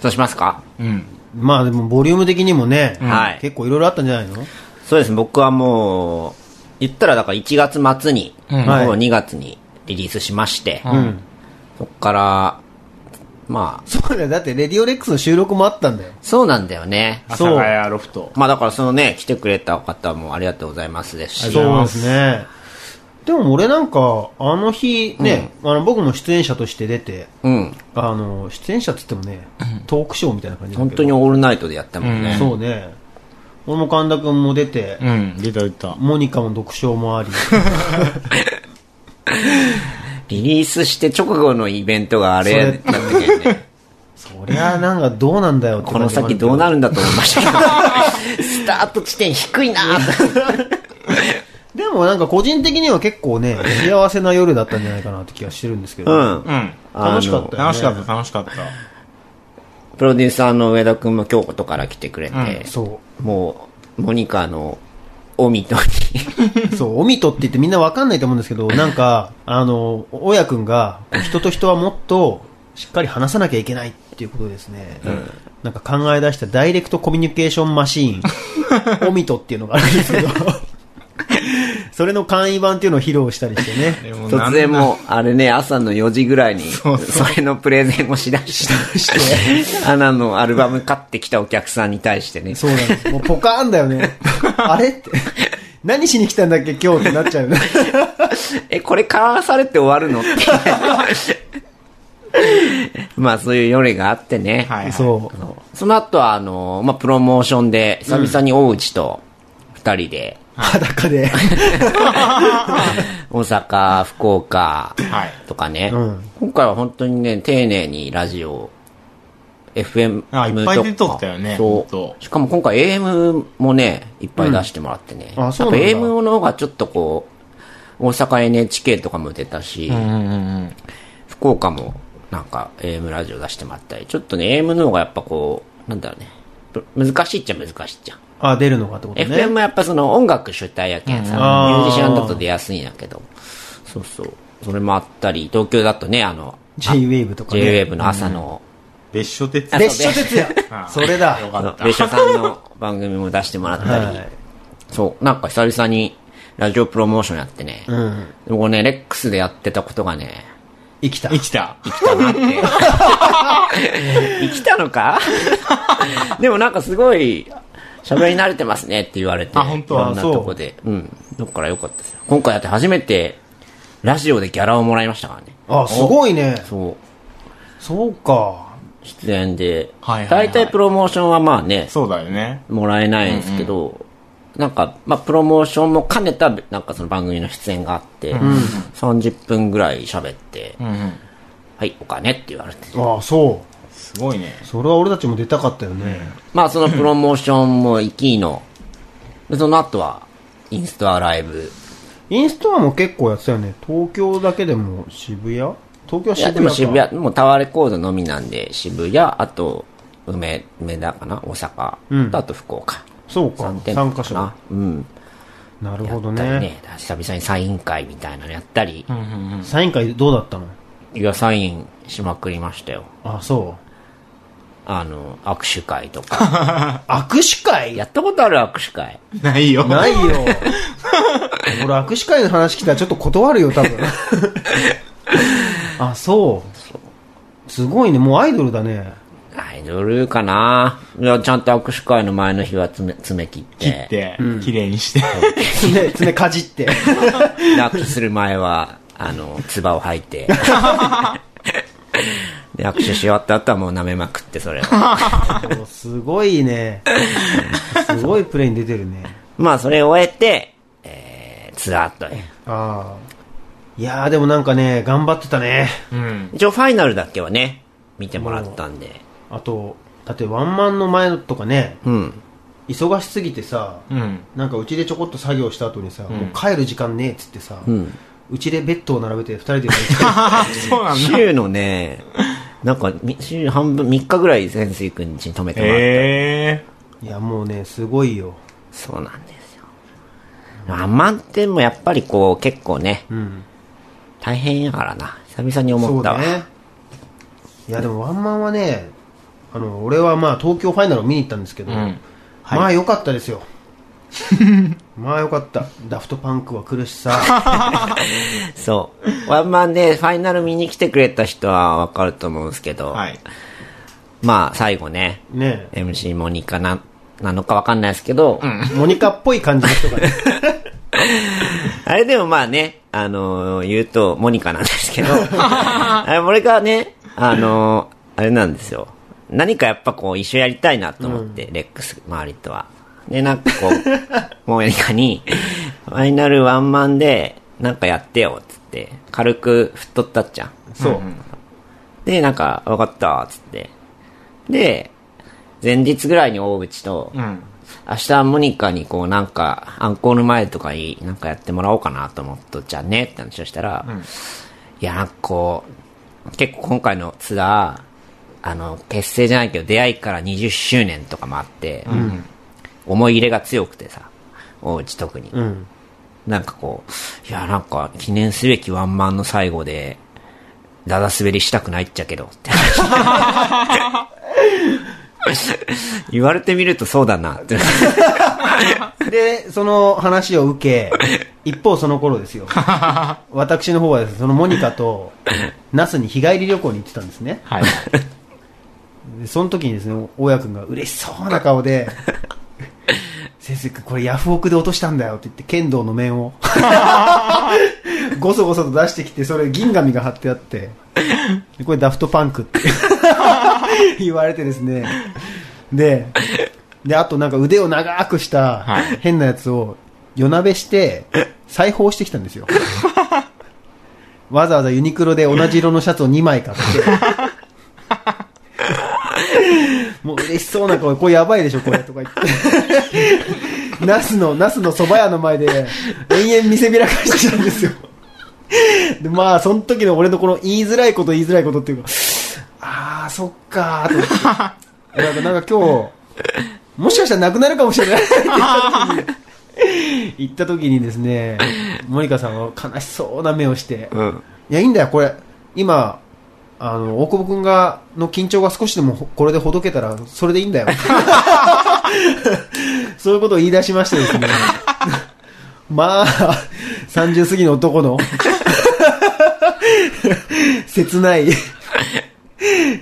C: そうしますか
B: うん。
A: まあでも、ボリューム的にもね、
C: はい
A: 結構いろいろあったんじゃないの
C: そうです、僕はもう、言ったらだから1月末に、
B: ん
C: もう
A: はい
C: 2月にリリースしまして、
A: うん。
C: そっから、まあ、
A: そうだよ。だって、レディオレックスの収録もあったんだよ。
C: そうなんだよね。
B: 阿佐
A: そう
B: ヶ谷ロフト。
C: まあだからそのね、来てくれた方もありがとうございますですし、
B: がとうございま
A: そ
B: す
A: うですね。でも俺なんか、あの日ね、あの僕も出演者として出て、
C: うん。
A: あの、出演者って言ってもね、トークショーみたいな感じだけど
C: 本当にオールナイトでやったもんね。
A: そうね。俺も神田くんも出て、
B: うん。出た出た。
A: モニカも読書もあり、
C: リリースして直後のイベントがあれだったけど
A: (laughs)
C: ね。
A: そりゃなんかどうなんだよって
C: こ
A: 感
C: の
A: じもあ
C: 先
A: け
C: どうなるんだと思い
A: (laughs)
C: ましたけど。スタート地点低いなぁ
A: でもなんか個人的には結構ね、 (laughs) 幸せな夜だったんじゃないかなって気がしてるんですけ
C: う
A: ど、
C: ん。
B: うん。
A: 楽しかったよ、ね。
B: 楽しかった、楽しかった。
C: プロデューサーの上田くんも京都から来てくれて、
A: そ
C: もう、モニカの、オミトに。
A: う。 (laughs) そう、オミトって言ってみんなわかんないと思うんです
B: (laughs)
A: けど、なんか、あの、親くんが、こう人と人はもっとしっかり話さなきゃいけないっていうことですね。なんか考え出したダイレクトコミュニケーションマシ
B: (laughs)
A: ーン、オミトっていうのがあるんですけど、それの簡易版っていうのを披露したりしてね。
B: (laughs) でも
C: 突然もう、あれね、朝の4時ぐらいに、それのプレゼンをしだして、アナのアルバム買ってきたお客さんに対してね、
A: そうなんです。もうポカーンだよ
B: (laughs)
A: ね。あれって。何しに来たんだっけ今日ってなっちゃうよね。
C: (laughs) え、これ買わされて終わるのって。 (laughs) まあそういう夜があってね。
B: はいはい。
A: そ
C: その後は、あの、まあプロモーションで、久々に大内と二人で、
A: う。裸で。
C: 大阪、福岡
B: はい
C: とかね、
A: うん
C: 今回は本当にね、丁寧にラジオ、FM
B: あいっぱい出とったよねほん
C: そ
B: と
C: う。しかも今回 AM もね、いっぱい出してもらってね。
A: うんあそうなんだ
C: やっぱ AM の方がちょっとこう、大阪 NHK とかも出たし、
B: うんうんうん。
C: 福岡もなんか AM ラジオ出してもらったり、ちょっとね、AM の方がやっぱこう、なんだろうね、む難しいっちゃ難しいじゃん。
A: あ、出るのかってことね。
C: FM はやっぱその音楽主体やけんさ、ミ
A: あー
C: ュージシャンだと出やすいんやけど、そうそう。それもあったり、東京だとね、あの、
A: J-Wave とかね。
C: JWAVE の朝の、
B: 別所哲
C: あ
B: 也。
A: 別所哲
B: あ
A: 也。それだ。
B: よ
C: あ
B: か
C: の
B: っ、た。
C: 別所さんの番組も出してもらったり、
A: はい
C: そう、なんか久々にラジオプロモーションやってね、
A: うん。
C: でもね、レックスでやってたことがね、
A: 生きた。
B: 生きた。
C: 生きたなって。生きたのかでもなんかすごい、喋り慣れてますねって言われて。
B: あ本当
C: いろんな
A: あそう
C: とこで。うん。どっから良かったですよ。今回だって初めて、ラジオでギャラをもらいましたからね。
A: あ、すごいね。
C: そう。
A: そうか。
C: 出演で。
B: はいはいはい
C: 大体プロモーションはまあね、
B: そうだよね。
C: もらえないんですけど、なんか、まあ、プロモーションも兼ねた、なんかその番組の出演があって、30分ぐらい喋って、
B: うんうん。
C: はい、お金って言われて。
A: あ、そ
B: すごいね。
A: う。それは俺たちも出たかったよね。
C: まあそのプロモーションも行
B: (laughs)
C: きの、でその後はインストアライブ。
A: インストアも結構やってたよね。東京だけでも渋谷東京はい
C: や
A: 渋
C: で
A: 谷
C: も
A: か。
C: 渋谷、もうタワーレコードのみなんで渋谷、あと梅、梅田かな大阪。
A: うん
C: とあと福岡。
A: そうか
C: 3。店
A: 3
C: 舗
A: 箇
C: か
A: 所
C: な。。うん。
A: なる
C: や
A: ほど
C: ったり
A: ね。
C: ね。久々にサイン会みたいなのやったり、
A: サイン会どうだったの
C: いや、サインしまくりましたよ。
A: あ、そう。
C: あの、握手会とか。 (laughs)
A: 握手会
C: やったことある握手会。
B: ないよ。
A: ない (laughs) よ。俺握手会の話来たらちょっと断るよ、多分。 (laughs) あ、そう。すごいね、もうアイドルだね。
C: アイドルかないや、ちゃんと握手会の前の日は爪、爪切って。
B: 切って、綺麗にして。
A: 爪、爪かじって。
C: で握手する前は、あの、唾を吐いて。で、握手し終わった後はもう舐めまくって、それを。
A: もうすごいね。すごいプレイに出てるね。
C: まあ、それを終えて、えー、ツアーっとね。
A: ああ。いやーでもなんかね、頑張ってたね。
C: 一応、ファイナルだけはね、見てもらったんで。
A: あと、だってワンマンの前とかね、
C: うん。
A: 忙しすぎてさ、なんかうちでちょこっと作業した後にさ、もう帰る時間ねえっつってさ、うちでベッドを並べて二人で寝て
B: そうなんだ。
C: 週のね、なんか、み週半分、3日ぐらい潜水君ちに泊めてもらった。
B: え
A: い (laughs) やもうね、すごいよ。
C: そうなんですよ。あ満点もやっぱりこう、結構ね、
A: ん
C: 大変やからな。久々に
A: そ
C: 思
A: う
C: った
A: だ
C: わ。
A: ね。いやでもワンマンはね、あの、俺はまあ東京ファイナルを見に行ったんですけど、まあ良かったです
C: (laughs)
A: よ。まあ良かった。ダフトパンクは来るしさ、
C: そう。ワンマンでファイナル見に来てくれた人はわかると思うんですけど、
B: ーはい。
C: まあ最後ね、
A: ね
C: MC モニカな、なのかわかんないですけど、
A: モニカっぽい感じの人がね、
C: (laughs) あれでもまあね、あのー言うとモニカなんですけど、あれ、モニカはね、あのーあれなんですよ。何かやっぱこう一緒やりたいなと思って、レックス周りとは。で、なんかこう、 (laughs) モニカに、ファイナルワンマンで、なんかやってよ、つって、軽く吹っとったっちゃん。
A: そう。
C: で、なんか、わかった、つって。で、前日ぐらいに大口と、明日モニカにこうなんか、アンコール前とかになんかやってもらおうかなと思っと、じゃあねって話をしたら、いや、なんかこう、結構今回のツアー、あの、結成じゃないけど出会いから20周年とかもあって、思い入れが強くてさ、大内特に。
A: うん。
C: なんかこう、いや、なんか記念すべきワンマンの最後で、だだ滑りしたくないっちゃけど、って話言われてみるとそうだな、って。
A: で、その話を受け、一方その頃
C: (laughs)
A: ですよ。私の方はですねそのモニカと、ナスに日帰り旅行に行ってたんですね。
B: はい。
A: で、その時にですね、大家くんが嬉しそうな顔で、先生、これヤフオクで落としたんだよって言って、剣道の面を、ごそごそと出してきて、それ銀紙が貼ってあって、でこれダフトパンクって (laughs) 言われてですね、で、で、あとなんか腕を長くした
B: はい
A: 変なやつを夜鍋して、裁縫してきたんですよ。わざわざユニクロで同じ色のシャツを2枚買って、もう嬉しそうな顔、これやばいでしょ、これ、とか言って。ナスの、ナスの蕎麦屋の前で、延々見せびらかしてたんですよ。で、まあ、その時の俺のこの言いづらいこと言いづらいことっていうか、あー、そっかー、と思
C: (laughs)
A: って。なんか、なんか今日、もしかしたらなくなるかもしれないって言った時に、言った時にですね、モニカさんは悲しそうな目をして、
C: うん。
A: いや、いいんだよ、これ。今、あの、大久保くんが、の緊張が少しでもほこれでほどけたら、それでいいんだよ。 (laughs) そういうことを言い出しましてですね。 (laughs) まあ、30過ぎの男の、 (laughs) 切ない、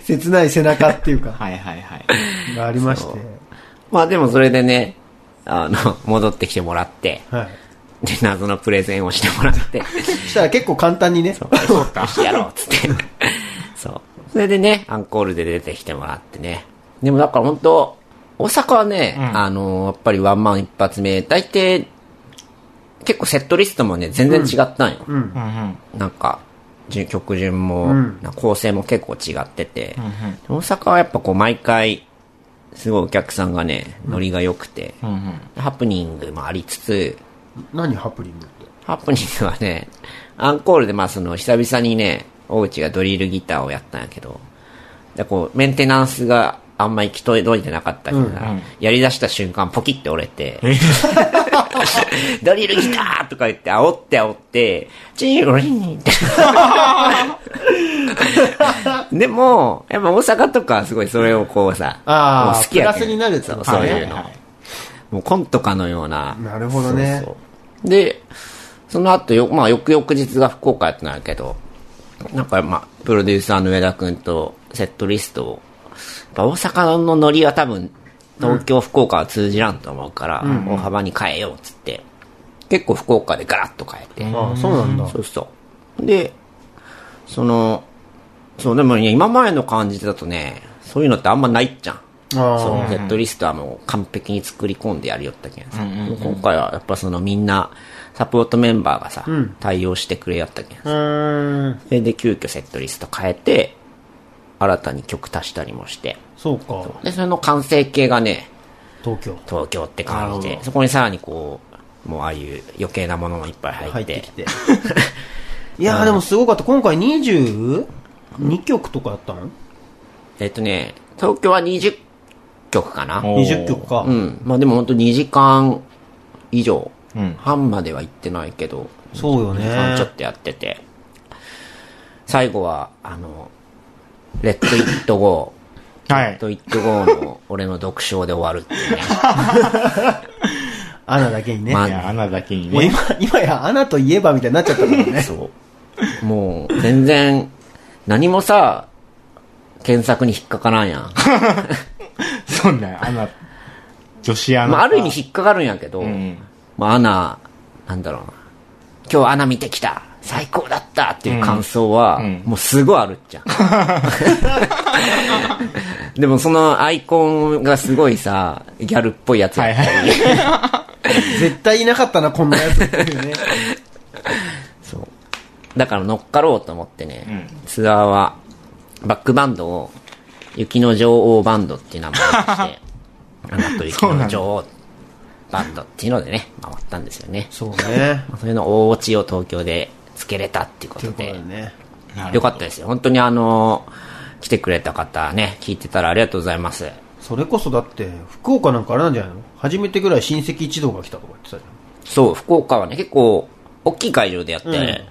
A: 切ない背中っていうか、
B: はいはいはい。
A: がありまして。
C: まあでもそれでね、あの、戻ってきてもらって、
A: はい。
C: で、謎のプレゼンをしてもらって、
A: したら結構簡単にね、
C: やろうっつって。そう。それでね、アンコールで出てきてもらってね。でもだから本当大阪はね、あのやっぱりワンマン一発目、大抵、結構セットリストもね、全然違ったんよ。なんか、じゅ曲順も、
A: ん
C: な構成も結構違ってて、大阪はやっぱこう毎回、すごいお客さんがね、ノリが良くて、ハプニングもありつつ、
A: 何ハプニングって。
C: ハプニングはね、アンコールでまあその久々にね、大内がドリルギターをやったんやけど、でこうメンテナンスがあんま行き届いてなかったけどな、やり出した瞬間ポキって折れて、 (laughs) ドリル来たーとか言って、煽って煽って、チーゴリンって。
A: (laughs)
C: でも、やっぱ大阪とかはすごいそれをこうさ、
A: あー
C: もう好きやけん
A: プラスになると
C: そうそう
B: はい
C: いうの。
B: はいはい
C: もうコントかのような。
A: なるほどね
C: そうそうで、その後よ、まあ、翌々日が福岡やってなるけど、なんか、まあ、プロデューサーの上田君とセットリストを、やっぱ大阪のノリは多分、東京、福岡は通じらんと思うから、大幅に変えようっつって、結構福岡でガラッと変えて、
A: ああ、そうなんだ。
C: そうそう。で、その、そう、でもね、今前の感じだとね、そういうのってあんまないっちゃん。
A: あー
C: そのセットリストはもう完璧に作り込んでやるよったけんさ。もう今回はやっぱそのみんな、サポートメンバーがさ、対応してくれやったけん
A: う
C: さ。
A: ーん、
C: それで急遽セットリスト変えて、新たに曲足したりもして。
A: そうか、
C: で、それの完成形がね、
A: 東京。
C: 東京って感じ
B: なる
C: で
B: ほ、ど
C: そこにさらにこう、もうああいう余計なものもいっぱい
A: 入
C: 入
A: っ
C: ってて
A: き。て。 (laughs) いやーでもすごかった。今回22曲とかだったの
C: えっとね、東京は20曲かな。
B: おー
A: ?20 曲か
C: う。ん。まあでも本当2時間以上、
B: うん
C: 半までは行ってないけど、
A: そうよ
C: 2時間
A: ね
C: ちょ。っとやってて、最後は、あの、レッド・イット・ゴー。
B: は
C: レッ
B: い。
C: ド・イット・ゴーの俺の独唱で終わるっていうね。
A: アナだけにね。
B: (laughs)
C: ま
B: いや、穴だけに
A: もう
B: ね。
A: 今、 (laughs) 今やアナといえばみたいになっちゃったからね。
C: そう。もう、全然、何もさ、検索に引っかからんやん。
B: そんな、穴、女子穴。
C: まあ、ある意味引っかかるんやけど、
B: ん
C: まあ、アナ、なんだろうな。今日アナ見てきた最高だったっていう感想は、
B: ん
C: もうすごいあるっ
B: (laughs)
C: ちゃん。でもそのアイコンがすごいさ、ギャルっぽいやつ
B: は
C: や
B: い
C: った (laughs) り、
B: はい。
A: 絶対いなかったな、こんなやつっていうね。
C: だから乗っかろうと思ってね、ツアーは、バックバンドを、雪の女王バンドっていう名前に
B: (laughs)
C: して、アナと雪の女王バンドっていうのでね、回ったんですよね。
A: (laughs) そうね。
C: それの大落ちを東京でつけれたっていうこと
A: ということ
C: で
A: で、ね。
C: よかったですよ。本当にあの、来てくれた方ね、聞いてたらありがとうございます。
A: それこそだって、福岡なんかあれなんじゃないの初めてぐらい親戚一同が来たとか言ってたじ
C: そう、福岡はね、結構、大きい会場でやって、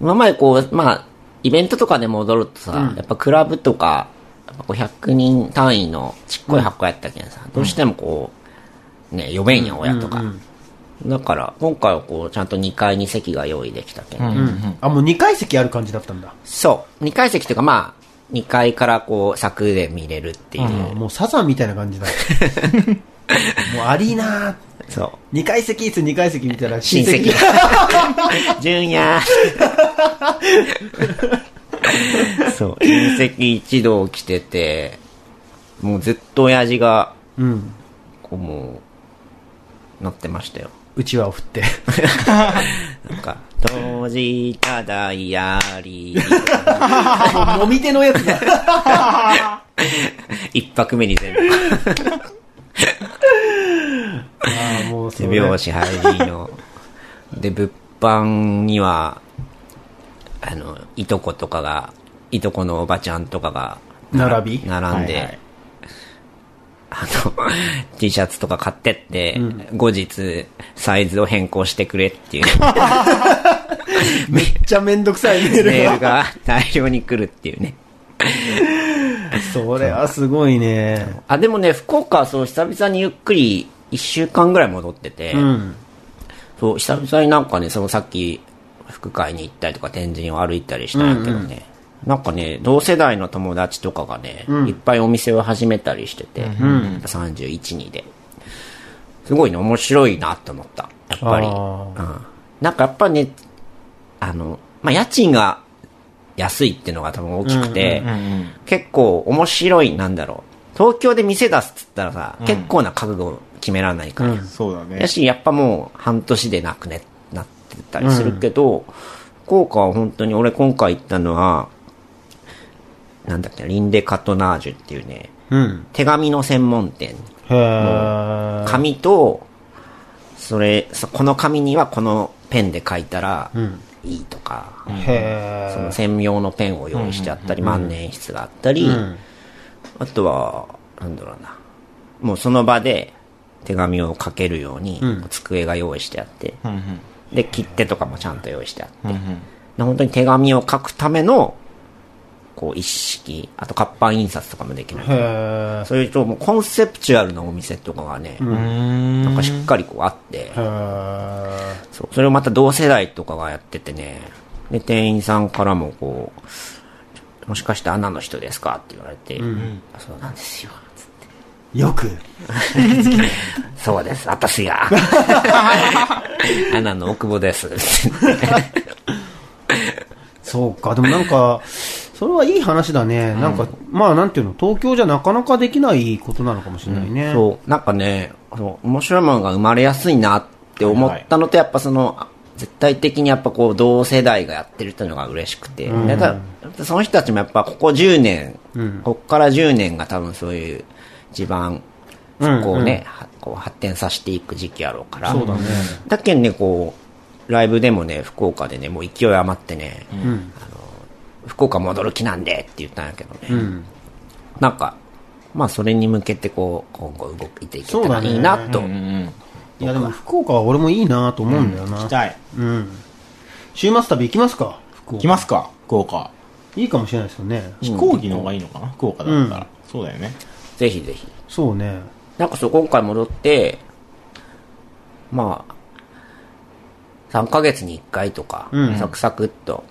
C: 今までこう、まあ、イベントとかで戻るとさ、やっぱクラブとか、やっぱ500人単位のちっこい箱やったけんさ、どうしてもこう、ね、呼べんや、親とか。だから、今回はこう、ちゃんと2階に席が用意できたけん、
A: ゃん。うん。あ、もう2階席ある感じだったんだ。
C: そう、2階席というかまあ、2階からこう、柵で見れるっていう。
A: もうサザンみたいな感じだ。もうアリーナー。
C: そう。
A: 2階席室2階席見たら親
C: 親戚
A: 戚。。
C: (laughs) 純
A: (laughs)
C: 也。そう、親戚一同来てて、もうずっと親父が、
A: うん。
C: こうもう、乗ってましたよ。
A: うちわを振って。
C: なんか、当時ただいやり、
A: もう飲み手のやつだ。
C: 一拍目に全部、
A: ああ、もう
C: 手拍子入りの。で、物販には、あの、いとことかが、いとこのおばちゃんとかが、
A: (laughs) 並び
C: 並んで、
B: はいはい
C: あの、T シャツとか買ってって、後日、サイズを変更してくれっていう
A: めっちゃめんどくさいメール
C: メー
A: が
C: ルが大量に来るっていうね。
A: それはすごいね。
C: あ、でもね、福岡はそう、久々にゆっくり、一週間ぐらい戻ってて、
A: うん。
C: そう、久々になんかね、そのさっき、副会に行ったりとか、天神を歩いたりしたんやけどね、なんかね、同世代の友達とかがね、いっぱいお店を始めたりしてて、31、2で。すごいね、面白いなと思った。やっぱり。
A: あ
C: うんなんかやっぱね、あの、まあ、家賃が安いっていうのが多分大きくて、結構面白い、なんだろう。東京で店出すっつったらさ、結構な覚悟を決められないから、
B: そうだね
C: や。し、やっぱもう半年でなくね、なってたりするけど、福岡は本当に俺今回行ったのは、なんだっけ、リンデカトナージュっていうね、
A: うん。
C: 手紙の専門店。
A: へえ。
C: 紙と、それ、そこの紙にはこのペンで書いたらいいとか、そ
A: へ
C: の専用のペンを用意してあったり、万年筆があったり、あとは、なんだろうな。もうその場で手紙を書けるように、机が用意してあって、で、切手とかもちゃんと用意してあって、で本当に手紙を書くための、こう、一式、あと活版印刷とかもできる。
A: へ
C: そういうと、もうコンセプチュアルなお店とかがね、なんかしっかりこうあって、
A: ー
C: そうそれをまた同世代とかがやっててね、で、店員さんからもこう、もしかしてアナの人ですかって言われて、あそうなんですよ。つって
A: よく。
C: そうです、私 (laughs) が。アナの奥保です。
A: そうか、でもなんか、それはいい話だね。なんか、まあなんていうの、東京じゃなかなかできないことなのかもしれないね。
C: そう、なんかね、そう面白いものが生まれやすいなって思ったのと、やっぱその、あ絶対的にやっぱこう、同世代がやってるっていうのが嬉しくて、でただその人たちもやっぱここ10年、こっから10年が多分そういう地盤、こ
A: ん
C: うね、はこう発展させていく時期やろうから、そうだね。だけんね、こう、ライブでもね、福岡でね、もう勢い余ってね、あの福岡戻る気なんでって言ったんやけどね、なんか、まあそれに向けてこう、今後動いていけたらいいなと。
A: いやでも福岡は俺もいいなと思うんだよな。
B: 行きたい。
A: うん。週末旅行きますか福
B: 行き
A: 岡。
B: ますか福岡。
A: いいかもしれないですよね。
B: 飛行機の方がいいのかな福岡だったら。そうだよね。
C: ぜひぜひ。
A: そうね。
C: なんかそう、今回戻って、まあ、3ヶ月に1回とか、サクサクっと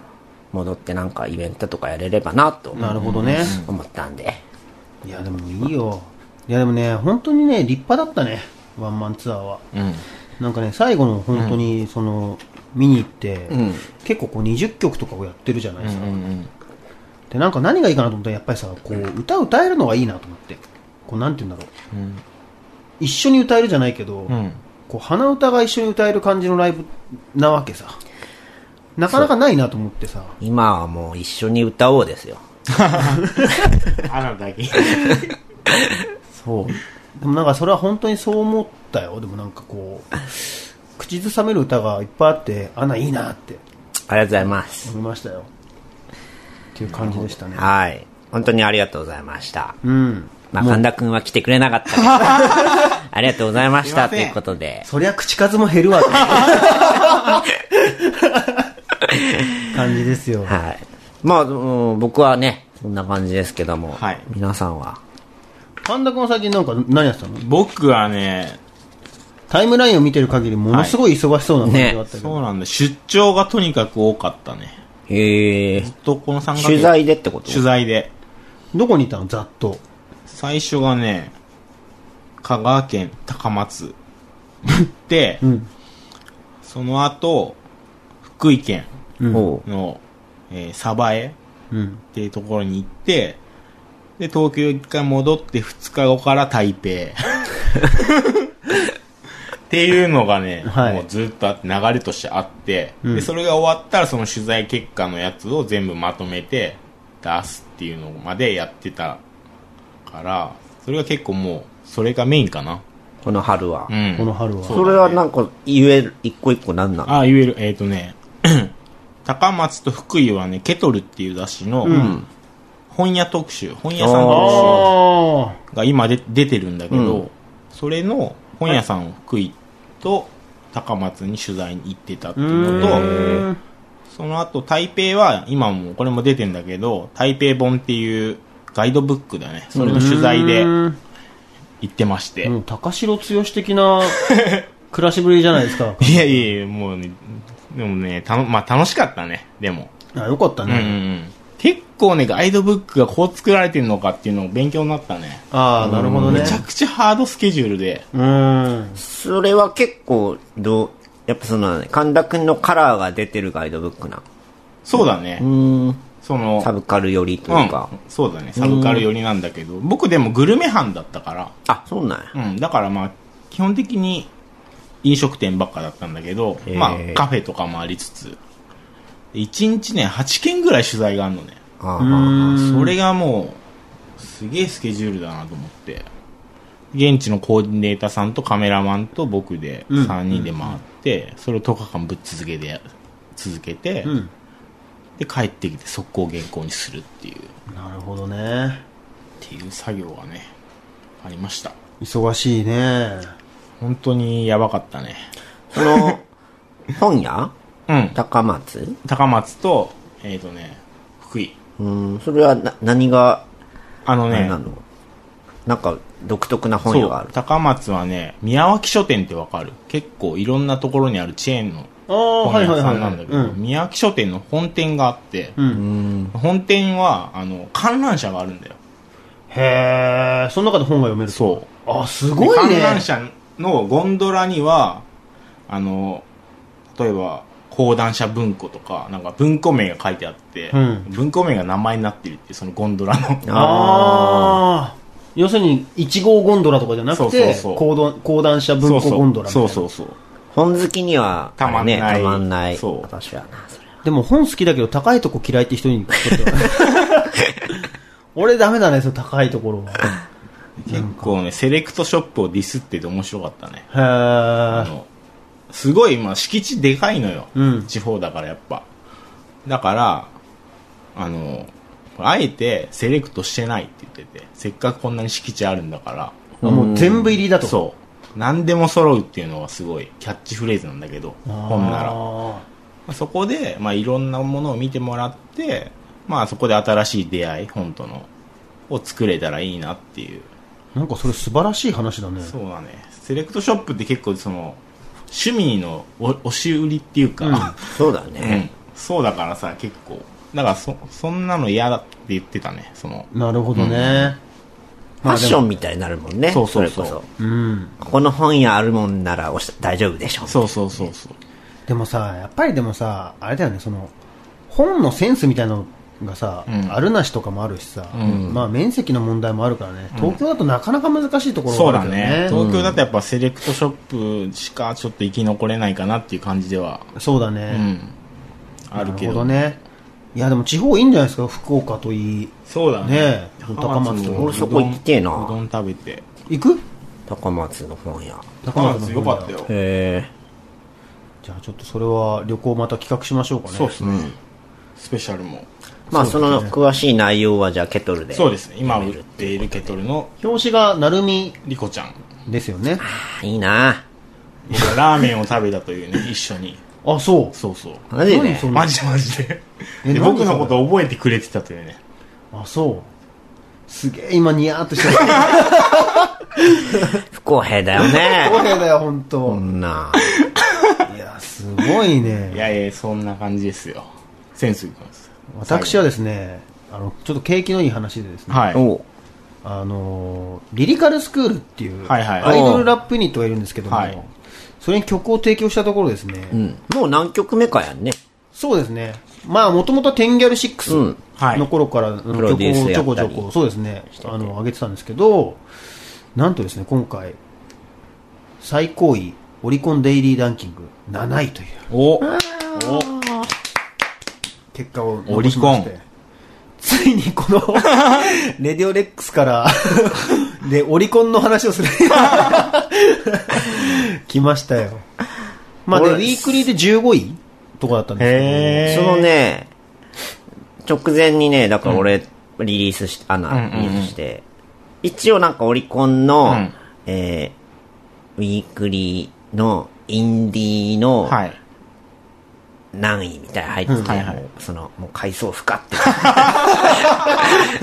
C: 戻ってなんかイベントとかやれればなと
A: なるほどね。
C: 思ったんで、
A: いやでもいいよ。いやでもね、本当にね、立派だったね。ワンマンツアーは。
B: うん。
A: なんかね、最後の本当に、その、見に行って、結構こう20曲とかをやってるじゃないですか。で、なんか何がいいかなと思ったら、やっぱりさ、こう、歌歌えるのがいいなと思って。こう、なんて言うんだろう。一緒に歌えるじゃないけど、
B: ん
A: こう、鼻歌が一緒に歌える感じのライブなわけさ。なかなかないなと思ってさ。
C: 今はもう一緒に歌おうですよ。
B: あなただけ。
A: そう。でもなんかそれは本当にそう思ったよ。でもなんかこう、口ずさめる歌がいっぱいあって、あんないいなって
C: ありがとうございます。
A: 思いましたよ。っていう感じでしたね。
C: はい。本当にありがとうございました。
A: うん。
C: まあ、神田くんは来てくれなかったけ (laughs) どありがとうございましたということで、
A: そりゃ口数も減るわ。感じですよ。
C: はい。まあ、うん僕はね、そんな感じですけども、
B: はい
C: 皆さんは、
A: 神田君は最近なんか何やってたの
B: 僕はね、
A: タイムラインを見てる限りものすごい忙しそうな感じがあったけど。
B: そうなんだ。出張がとにかく多かったね。
C: えー、
B: と、この3月。
C: 取材でってこと
B: 取材で。
A: どこにいたのざっと。
B: 最初がね、香川県高松で、
A: ん
B: その後、福井県
C: おう
B: の、えー鯖江っ
A: うん。
B: ていうところに行って、で、東京一回戻って2日後から台北。っていうのがね、
A: はい
B: もうずっとあって流れとしてあって、
A: うん
B: で、それが終わったらその取材結果のやつを全部まとめて出すっていうのまでやってたから、それが結構もう、それがメインかな。
C: この春は。
B: うん。
A: この春は。
C: それはなんか言える、一個一個なんなの
B: あ、言える。えっ、とね、 (clears throat) 高松と福井はね、ケトルっていう雑誌の、本屋特集、本屋さん特
A: あ
B: 集が今で出てるんだけど、
C: うん
B: それの本屋さんを福井と高松に取材に行ってたっていう
A: あ。
B: のと、その後台北は今もこれも出てんだけど、台北本っていうガイドブックだね。それの取材で行
A: う
B: ってまして。
A: ん、高城剛的な
B: (laughs)
A: 暮らしぶりじゃないですか。
B: いやいやいや、もうね、でもね、たのまあ楽しかったね、でも。
A: あ、よかったね。
B: 結構ね、ガイドブックがこう作られてるのかっていうのを勉強になったね。
A: ああ、なるほどね
B: め。ちゃくちゃハードスケジュールで。
A: うん。
C: それは結構、どう、やっぱその、神田くんのカラーが出てるガイドブックな。
B: そうだね。
C: うん。
B: その、
C: サブカル寄りというか。
B: うん、そうだね。サブカル寄りなんだけど、僕でもグルメ班だったか
C: あ、そうなんや。
B: ら、うん、だからまあ、基本的に飲食店ばっかだったんだけど、
C: へー
B: まあ、カフェとかもありつつ、1日ね、8件ぐらい取材があるのね。
C: あー
B: それがもう、すげえスケジュールだなと思って。現地のコーディネーターさんとカメラマンと僕で3人で回って、それを10日間ぶっ続けて、続けて、
A: ん
B: で、帰ってきて速攻原稿にするっていう、っ
A: なるほどね。
B: ていう作業がね、ありました。
A: 忙しいね。
B: 本当にやばかったね。
C: その、本屋
B: うん。
C: 高松
B: 高松と、えっ、とね、福井。
C: うん、それはな、何が、
B: あの
C: あれ
B: ね
C: な、の、なんか、独特な本
B: そ
C: 屋があ
B: う
C: る、。
B: 高松はね、宮脇書店ってわかる結構いろんなところにあるチェーン
A: あ
B: の
A: あ、
B: 本
A: はいは
B: 屋
A: い
B: さ
A: はい。
B: んなんだけ
A: う
B: ど、
A: ん
B: 宮脇書店の本店があって、本店は、あの、観覧車があるんだよ。
A: へえ、その中で本が読める。
B: そう。
A: う。あ、すごい
B: で観覧
A: ね。
B: 車のゴンドラにはあの例えば講談社文庫とかなんか文庫名が書いてあって、
A: うん
B: 文庫名が名前になってるっていうそのゴンドラの
A: (laughs) ああ。要するに、1号ゴンドラとかじゃな
B: そ
A: く
B: うそう
A: て、
B: そう
A: 講談講談社文庫ゴンドラみたい
B: そ
A: な。
B: うそうそうそう
C: 本好きには、
B: たまんない
C: あれね、たまんない。
B: そう
C: 私はな、それは。
A: でも本好きだけど高いとこ嫌いって人にとって
B: (laughs)
A: は俺ダメだね、その高いところ
B: 結構ねセレクトショップをディスってて面白かったねあ
A: は。へえ。
B: のすごい、まあ、敷地でかいのよ、
A: うん
B: 地方だからやっぱだからあのあえてセレクトしてないって言っててせっかくこんなに敷地あるんだから
A: もう全部入りだと。
B: そう何でも揃うっていうのはすごいキャッチフレーズなんだけど本ならま
A: あ
B: あそこで、まあ、いろんなものを見てもらって、まあ、そこで新しい出会い本とのを作れたらいいなっていう
A: ーなんかそれ素晴らしい話だね。
B: そうだねセレクトショップって結構その趣味のお押し売りっていうか、
C: そうだ
B: うん
C: ね。
B: (laughs) そうだからさ結構だからそそんなの嫌だって言ってたねその
A: なるほどね。
C: ファッションみたいになるもんね。
B: そうそうそう
C: れこ
A: うん。
C: そ。ここの本屋あるもんならおし大丈夫でしょ。
B: そうそうそうそう
A: でもさ、やっぱりでもさ、あれだよね、その、本のセンスみたいなのがさ、
B: ん
A: あるなしとかもあるしさ、まあ面積の問題もあるからね、東京だとなかなか難しいとこ
B: そ
A: ろ
B: う
A: があ
B: だ
A: るけど
B: ね
A: ね。
B: 東京だとやっぱセレクトショップしかちょっと生き残れないかなっていう感じでは
A: そうだ
B: う
A: ね。
B: んあるけ
A: な
B: ど
A: るほどね。いや、でも地方いいんじゃないですか、福岡といい。
B: そうだ
A: ね
B: ね
A: え高松とか
B: も
C: 俺そこ行きてえな
B: うどん食べて
A: 行く
C: 高松の本屋。
B: 高松よかったよ
C: へ
A: じゃあちょっとそれは旅行また企画しましょうかね。
B: そうですねスペシャルも
C: え。まあ、その詳しい内容はじゃあケトルで。
B: そうですね今売っているケトルの
A: 表紙がなるみ
B: リコちゃん
A: ですよね。
C: あいいな
B: 僕はラーメンを食べたというね一緒に
A: あ、そ
B: そうそう
C: マジ
A: 何
C: で
A: それ
B: マジでマジで
A: え
B: で
A: なんで
B: 僕のこと覚えてくれてたというね
A: う。あ、そう。すげえ今ニヤーっとして
B: (laughs)
A: る。
C: 不公平だよ
B: (laughs)
C: ね
A: 公。平だよ、本当
C: こ。んな。
A: いや、すごい
B: い
A: ね。
B: やいやそんな感じですよセンスいきます
A: 私はですね、あの、ちょっと景気のいい話でですね、
B: はい
C: おう
A: あのー、リリカルスクールっていう、
B: はいはい
A: アイドルラップユニットがいるんですけども、
B: はい
A: それに曲を提供したところですね、
C: うん。もう何曲目かやんね。
A: そうですね。まあ、もともとテンギャル
C: うん
A: 6の頃から曲
C: プロ
A: を
C: デュース
A: ち
C: や
A: ょ
C: った
A: こ
C: り
A: ちょこ、そうですね、あの、上げてたんですけど、なんとですね、今回、最高位、オリコンデイリーランキング7位という
B: おお
A: 結果を残しまして
B: オリコン
A: ついにこの、
B: (laughs)
A: レディオレックスから、で、オリコンの話を
B: (laughs)
A: する。来ましたよ。まあ、で、ウ
C: 俺
A: ィークリーで15位とかだったんですけど、
B: へ
C: そのね、直前にね、だから俺、リリースして、あの、
B: んうんうん
C: リリースして、一応なんかオリコンの、
B: うん
C: えーウィークリーの、インディーの
B: はい。
C: 何位みたいな入ってて、
B: はいはい
C: もうその、もう階層不可って。こ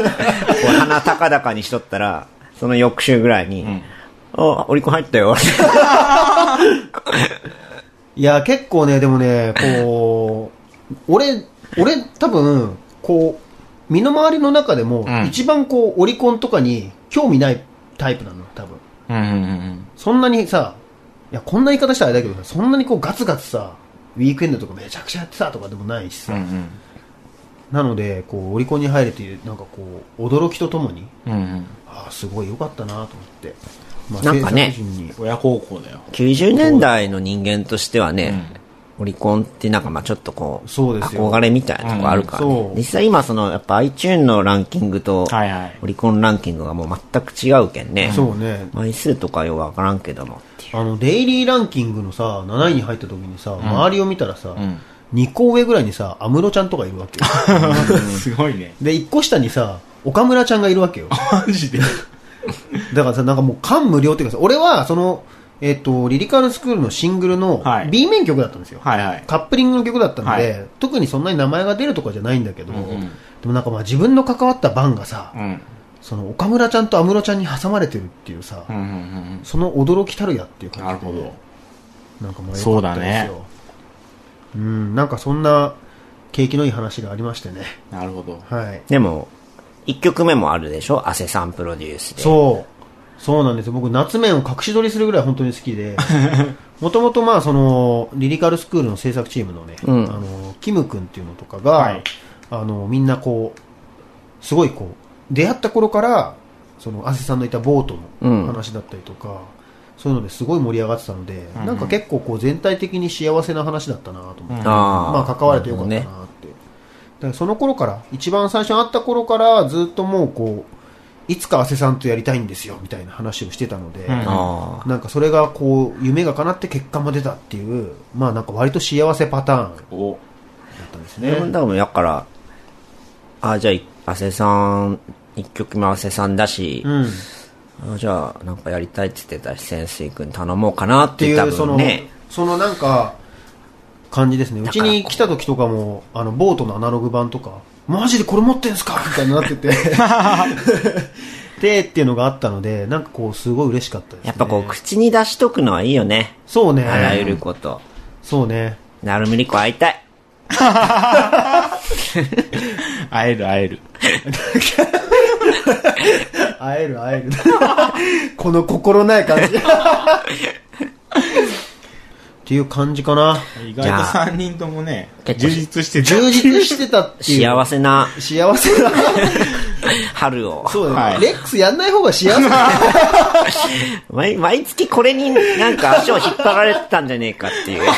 C: う鼻高々にしとったら、その翌週ぐらいに、あ、オリコン入ったよ。
A: いや、結構ね、でもね、こう、俺、俺、多分、こう、身の回りの中でも、
B: ん
A: 一番こう、オリコンとかに興味ないタイプなの、多分。
B: うんうんうん。
A: そんなにさ、いや、こんな言い方したらあれだけどさ、そんなにこう、ガツガツさ、ウィークエンドとかめちゃくちゃやってたとかでもないし
B: う
A: さ。
B: ん
A: なので、こう、オリコンに入れて、なんかこう、驚きとともに、
B: うん。うんうん。
A: ああ、すごい良かったなと思って。まあ
C: なんかね
A: 制作陣に
B: 親孝行だよ。
C: 90年代の人間としてはね、オリコンってなんかまあちょっとこう、
A: そうですよ
C: 憧れみたいなとこあるから
A: う
C: ね、
A: んそう
C: 実際今そのやっぱ iTune のランキングと
B: はいはい
C: オリコンランキングがもう全く違うけんね。
A: そうね。
C: 枚数とかよくわからんけどもっていう。
A: あの、デイリーランキングのさ、7位に入った時にさ、周りを見たらさ、
B: ん
A: 2個上ぐらいにさ、安室ちゃんとかいるわけ
B: (laughs)
A: よ。
B: すごいね。
A: で、1個下にさ、岡村ちゃんがいるわけよ。
B: マジで。
A: だからさ、なんかもう感無量っていうかさ、俺はその、えっ、と、リリカルスクールのシングルの
B: はい
A: B 面曲だったんですよ。
B: はいはい。
A: カップリングの曲だったので、
B: は
A: 特にそんなに名前が出るとかじゃないんだけど、
B: うん
A: でもなんかまあ自分の関わった番がさ、
B: うん。
A: その岡村ちゃんと安室ちゃんに挟まれてるっていうさ、
B: うんうんうん
A: その驚きたるやっていう
B: うん。
A: 感じ
B: なるほど。
A: なんかもう
B: そうだね
A: うん、なんかそんな景気のいい話がありましてね。
B: なるほど。
A: はい。
C: でも、一曲目もあるでしょアセさんプロデュースで。
A: そう。そうなんですよ。僕、夏面を隠し撮りするぐらい本当に好きで、もともとまあ、その、リリカルスクールの制作チームのね、
C: うん
A: あの、キム君っていうのとかが、
B: はい
A: あの、みんなこう、すごいこう、出会った頃から、その、アセさんのいたボートの話だったりとか、そういうのですごい盛り上がってたので、なんか結構こう全体的に幸せな話だったなと思って、
B: うん
A: まあ関われてよかったなっ
C: な
A: て
C: るほどね。。
A: だからその頃から、一番最初に会った頃から、ずっともうこう、いつかアセさんとやりたいんですよ、みたいな話をしてたので、
B: うん
C: あ
A: なんかそれがこう、夢が叶って結果も出たっていう、まあなんか割と幸せパターンだ
B: お、
A: ったんです
C: あ。でも
A: ね。
C: 多分、だから、あじゃあ、アセさん、一曲目アセさんだし、
A: うん。っ
C: あじゃあ、なんかやりたいって言ってたし、潜水君頼もうかなってて
A: い
C: 多
A: う、そ
C: 分
A: の
C: ね。、
A: そのなんか、感じですね。うち
C: から
A: に来た時とかも、あの、ボートのアナログ版とか、マジでこれ持ってんすかみたいにな
C: (laughs)
A: ってて。で、っていうのがあったので、なんかこう、すごい嬉しかったです、ね。
C: やっぱこう、口に出しとくのはいいよね。
A: そうね。
C: あらゆること。
A: そうね。
C: なるみりこ会いたい。
B: 会える会える。
A: 会える会える。 (laughs) この心ない感じ。っていう感じかな。
B: 意外と
C: ゃ
B: 3人ともね、
C: 結構
B: 充実してた
A: 充実してたっていう。
C: 幸せな
A: せ。幸せだ。
C: 春を。
A: そうだね、
B: はい
A: レックスやんない方が幸せ
B: (laughs)
A: だ。
C: 毎毎月これになんか足を引っ張られてたんじゃねえかっていう。
A: (laughs)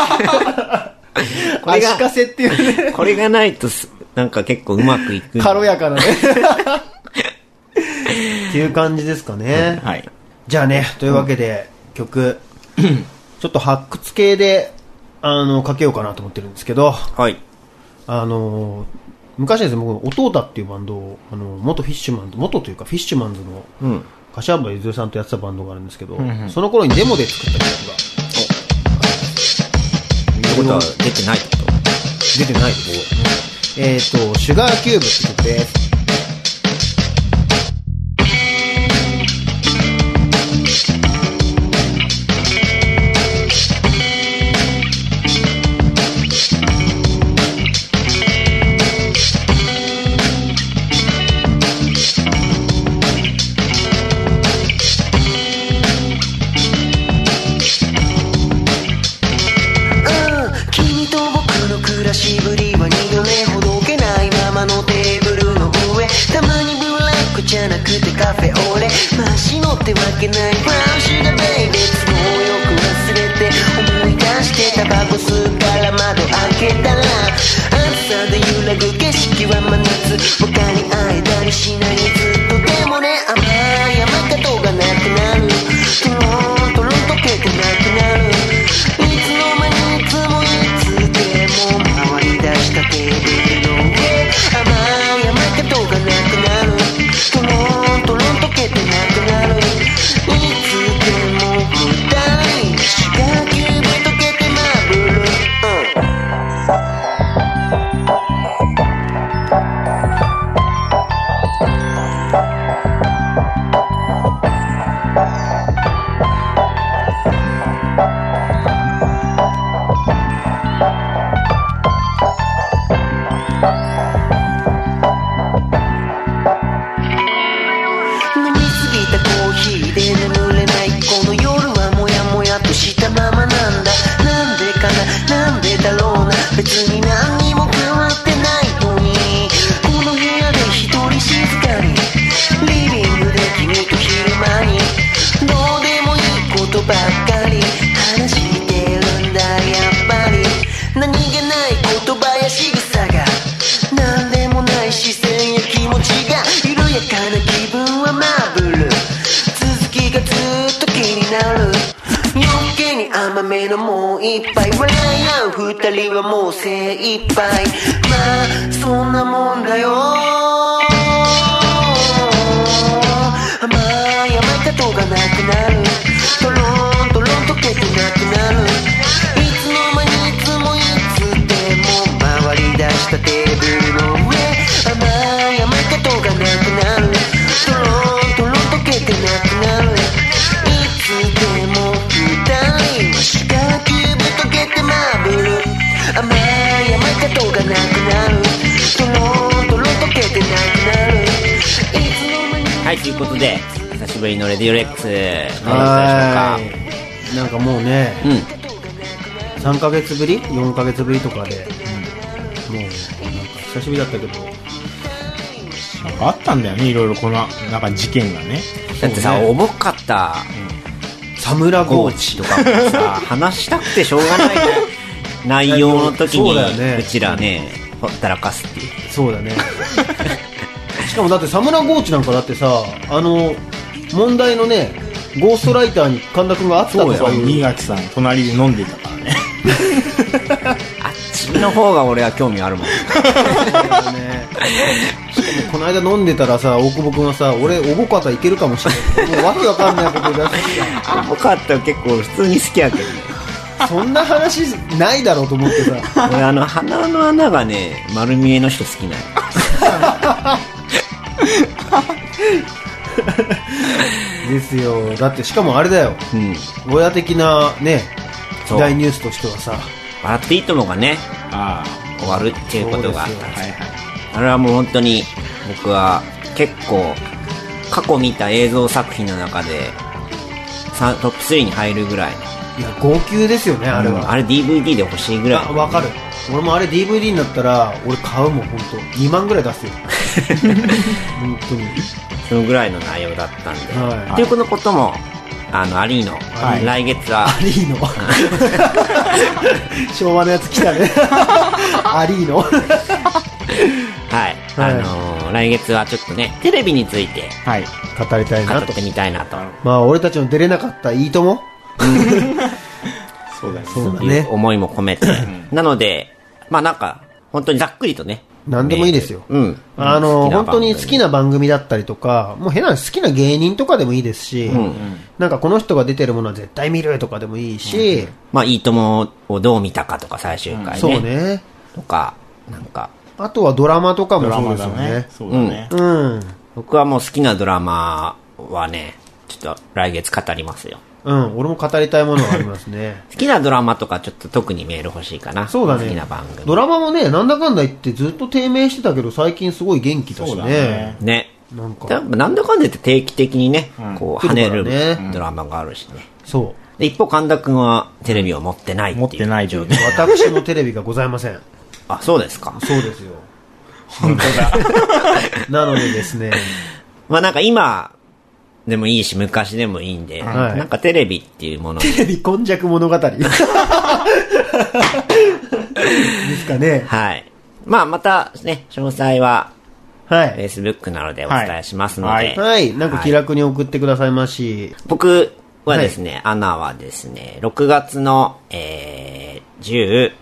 C: これ
A: 足か
C: が、
A: せっていうね。
C: これがないとす、なんか結構うまくいく。
A: 軽やかなね。っていう感じですかね。
B: はい。
A: じゃあね、というわけで、曲、ちょっと発掘系で、あの、かけようかなと思ってるんですけど。
C: はい。
A: あのー昔ですね、僕、弟だっていうバンドを、あの元フィッシュマンズ、元というかフィッシュマンズの、
C: うん。
A: 柏原ゆずるさんとやってたバンドがあるんですけど、その頃にデモで作った曲が
C: ってことは出てないってこと
A: 出てないです。えっ、と、シュガーキューブって曲です。
G: うん君と僕の暮らしぶりは二度目ほどけないままのテーブルの上たまにブラックじゃなくてカフェオレ真っ白ってわけないブラウンシュガーベイベー都合よく忘れて思い出してタバコ吸うから窓開けたら暑さで揺らぐ景色は真夏他に会えたりしないずっとでもね甘い山角がなくなるトロントロン溶けてなくなるいつの間にいつもいつでも回り出したテーブルの上甘い山角がなくなるトロントロン溶けてなくなるいつでも舞台四角形で溶けてまぶる、うん飲みすぎたコーヒーで眠れないこの夜はモヤモヤとしたままなんだなんでかななんでだろうな別に何にも変わってないのにこの部屋で一人静かにリビングで君と昼間にどうでもいいことばっかり話してるんだやっぱり何気ない言葉や仕草が何でもない視線や気持ちが緩やかな気分はマーブル続きがずっと気になる余計に甘めのもう一杯笑い合う二人はもう精一杯まあそんなもんだよ甘い山甘い甘い加糖がなくなるとろんとろん溶けてなくなるいつの間に
C: はい、ということで、久しぶりのレディオレックス、どうでしたでしょうか
A: は。ーいなんかもうね、
C: うん、
A: 3ヶ月ぶり ?4 ヶ月ぶりとかで、もう、なんか久しぶりだったけど、
B: なんかあったんだよねいろいろこのなんか事件がね
C: だってさ、
A: そうね
C: 重かった
A: サムラ
C: コ
A: ゴー
C: ーチ
A: チ
C: (laughs) とかもさ、話したくてしょう
A: (laughs)
C: がない内容の時
A: そうだよね
C: に、うちらね、ほったらかすっていう。
A: そうだね。 (laughs) しかもだってサムラゴーチなんかだってさ、あの、問題のね、ゴーストライターに神田君があったとかいう。
B: 新垣さん隣で飲んでたからね
C: あっちの方が俺は興味ある
A: (laughs)
C: もん。
A: ね、しかもこの間飲んでたらさ大久保君はさ俺おぼかたいけるかもしれないもうわけわかんないことだし
C: 重かったら結構普通に好きや
A: (laughs)
C: けどね。
A: そんな話ないだろうと思ってさ
C: 俺あの鼻の穴がね丸見えの人好きなの
A: ですよだってしかもあれだよ
C: うん
A: 親的なね
C: そう
A: 大ニュースとしてはさ
C: 笑っていいともがね
B: ああ
C: 終わるっていうことがあっ
A: そうです
C: た
A: よ
B: はいはい
C: あれはもう本当に僕は結構過去見た映像作品の中でさトップ3に入るぐらい
A: いや号泣ですよねあれ
C: うん
A: は、
C: あれ DVD で欲しいぐら
A: あ
C: い
A: わかる俺もあれ DVD になったら俺買うもん本当2万ぐらい出すよ本当に
C: そのぐらいの内容だったんで、
A: はい
C: というこのこともあのアリーノ、
A: はい
C: 来月は
A: アリー (laughs) ノ昭和のやつ来たねアリーノ
C: はい、
A: はい
C: あのー来月はちょっとねテレビについて
B: はい
A: 語りたい
C: 語
A: な
C: っ
A: と
C: てみたいなと
A: まあ俺たちの出れなかったいいとも
B: そうだね
A: そうだ
C: とい
A: ね
C: う思いも込めて。 (laughs) なので、まあなんか、本当にざっくりとね。
A: 何でもいいですよ
C: メールうん。
A: あの本当に好き
C: な
A: な番組だったりとかもう変な話好きな芸人とかでもいいですし、
C: 番組。うん。
A: なんかこの人が出てるものは絶対見るとかでもいいし、
C: まあ、いいともをどう見たかとか、最終回ね。
A: そう。ね
C: とか、なんか、
A: あとはドラマとか
B: ド
A: も
B: ラ
A: そう
B: マ
A: です
B: だ
A: よ
B: ね
A: ね
B: そうだね、
A: うん
C: 僕はもう好きなドラマはね、ちょっと来月語りますよ。
A: うん俺も語りたいものはあります (laughs) ね
C: 好きなドラマとかちょっと特にメール欲しいかな。
A: そうだね
C: 好きな番
A: ド
C: 組。
A: ラマもねなんだかんだ言ってずっと低迷してたけど最近すごい元気だ
B: そ
A: し
B: う
A: ね
B: だね
C: ね。
A: なんか
C: やっぱなんだかんだ言って定期的にね、こう跳ね
A: 来る
C: る
A: からね
C: ドラマがあるしね。
A: そう
C: で、一方神田くんはテレビを持ってないっていう。
B: 持ってない状態
A: 私のテレビがございません
C: あ、そうですか。
A: そうですよ。本当だ。なのでですね、
C: まあなんか今でもいいし、昔でもいいんで、
A: はい
C: なんかテレビってい
A: (laughs)
C: うもの
A: (laughs)
C: に、
A: テレビ今昔物 (laughs) 語。ですかね。
C: はい。まあまたね、詳細は
A: は
C: Facebook
A: い。
C: などでお伝えしますので、
B: はい
A: はい。なんか気楽に送ってくださいまし。
C: 僕はですね、アナはですね、6月の、えー、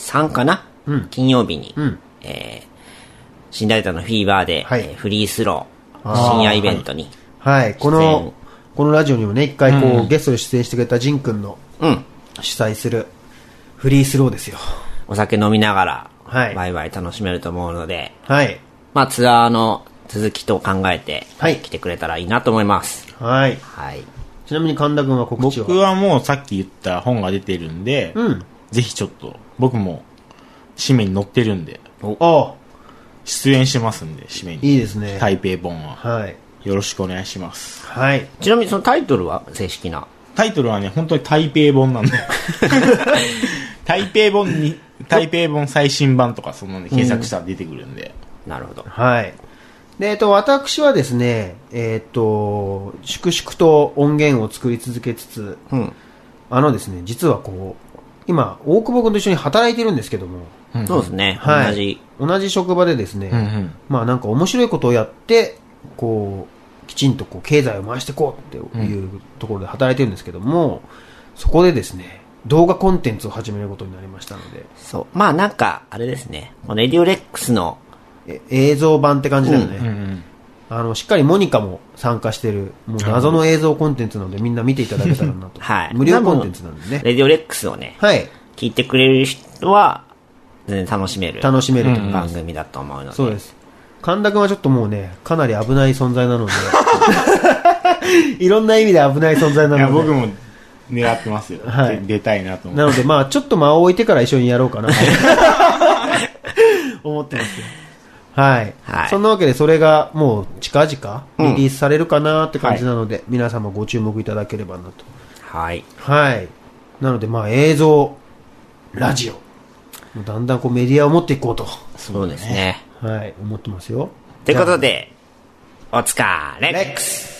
C: 13かな、金曜日に、
A: ん
C: えー、新大田のフィーバーで、
A: はい
C: えーフリースロー、
A: ー
C: 深夜イベントに、
A: はい。こ
C: 出演
A: の、このラジオにもね、一回こう、ゲストで出演してくれたジンくんの
C: うん、
A: 主催するフリースローですよ。
C: お酒飲みながら、
A: はい
C: ワイワイ楽しめると思うので、
A: はい。
C: まあ、ツアーの続きと考えて、
A: はい
C: 来てくれたらいいなと思います。
A: はい。
C: はい。
A: ちなみに神田くんは告知
B: 僕
A: は
B: はもうさっき言った本が出てるんで、
A: うん
B: ぜひちょっと僕も紙面に載ってるんで
A: ああ、
B: 出演してますんで紙面に
A: いいですね。
B: 台北本は
A: はい。
B: よろしくお願いします
A: はい。
C: ちなみにそのタイトルは正式な。
B: タイトルはね本当に台北
A: (laughs)
B: 本なんだよ台北本に台北本最新版とかそんなんで検索したら出てくるんで、
C: なるほど。
A: はい。で、えっと、私はですね、えっと、粛々と音源を作り続けつつ、
C: うん。
A: あのですね、実はこう、今、大久保君と一緒に働いてるんですけども、
C: そうですね。
A: はい。
C: 同じ。
A: 同じ職場でですね、
B: うんうん
A: まあなんか面白いことをやって、こう、きちんとこう経済を回していこうっていうところで働いてるんですけども、そこでですね、動画コンテンツを始めることになりましたので、
C: そう。まあなんか、あれですね。このレディオレックスの、
A: え映像版って感じだよね。
B: うんうん
A: あの、しっかりモニカも参加してる、もう謎の映像コンテンツなのでみんな見ていただけたらな
B: (laughs)
A: と。
C: はい。
A: 無料コンテンツなんでね。
C: レディオレックスをね、
A: はい。
C: 聞いてくれる人は、全然楽しめる。
A: 楽しめると思いま
C: 番
A: す。
C: 組だと思うので。
A: そうで。す。神田くんはちょっともうね、かなり (laughs)
B: (laughs)
A: 危ない存在なので、いろんな意味で危ない存在ない
B: や
A: の
B: 僕
A: で、
B: も狙ってますよ。
A: はい
B: で出たいなと思
A: な
B: っ
A: の
B: て。
A: で、まあ、ちょっと間を置いてから一緒にやろうかな。思ってますよ。はい。
C: はい
A: そんなわけで、それがもう近々リリースされるかなって感じなので、皆様ご注目いただければなと。
C: はい。
A: はい。なので、まあ、映像、ラジオ、もうだんだんこうメディアを持っていこうと、
C: そうですね。
A: はい、思ってますよ。
C: ということで、お疲れ。
A: レックス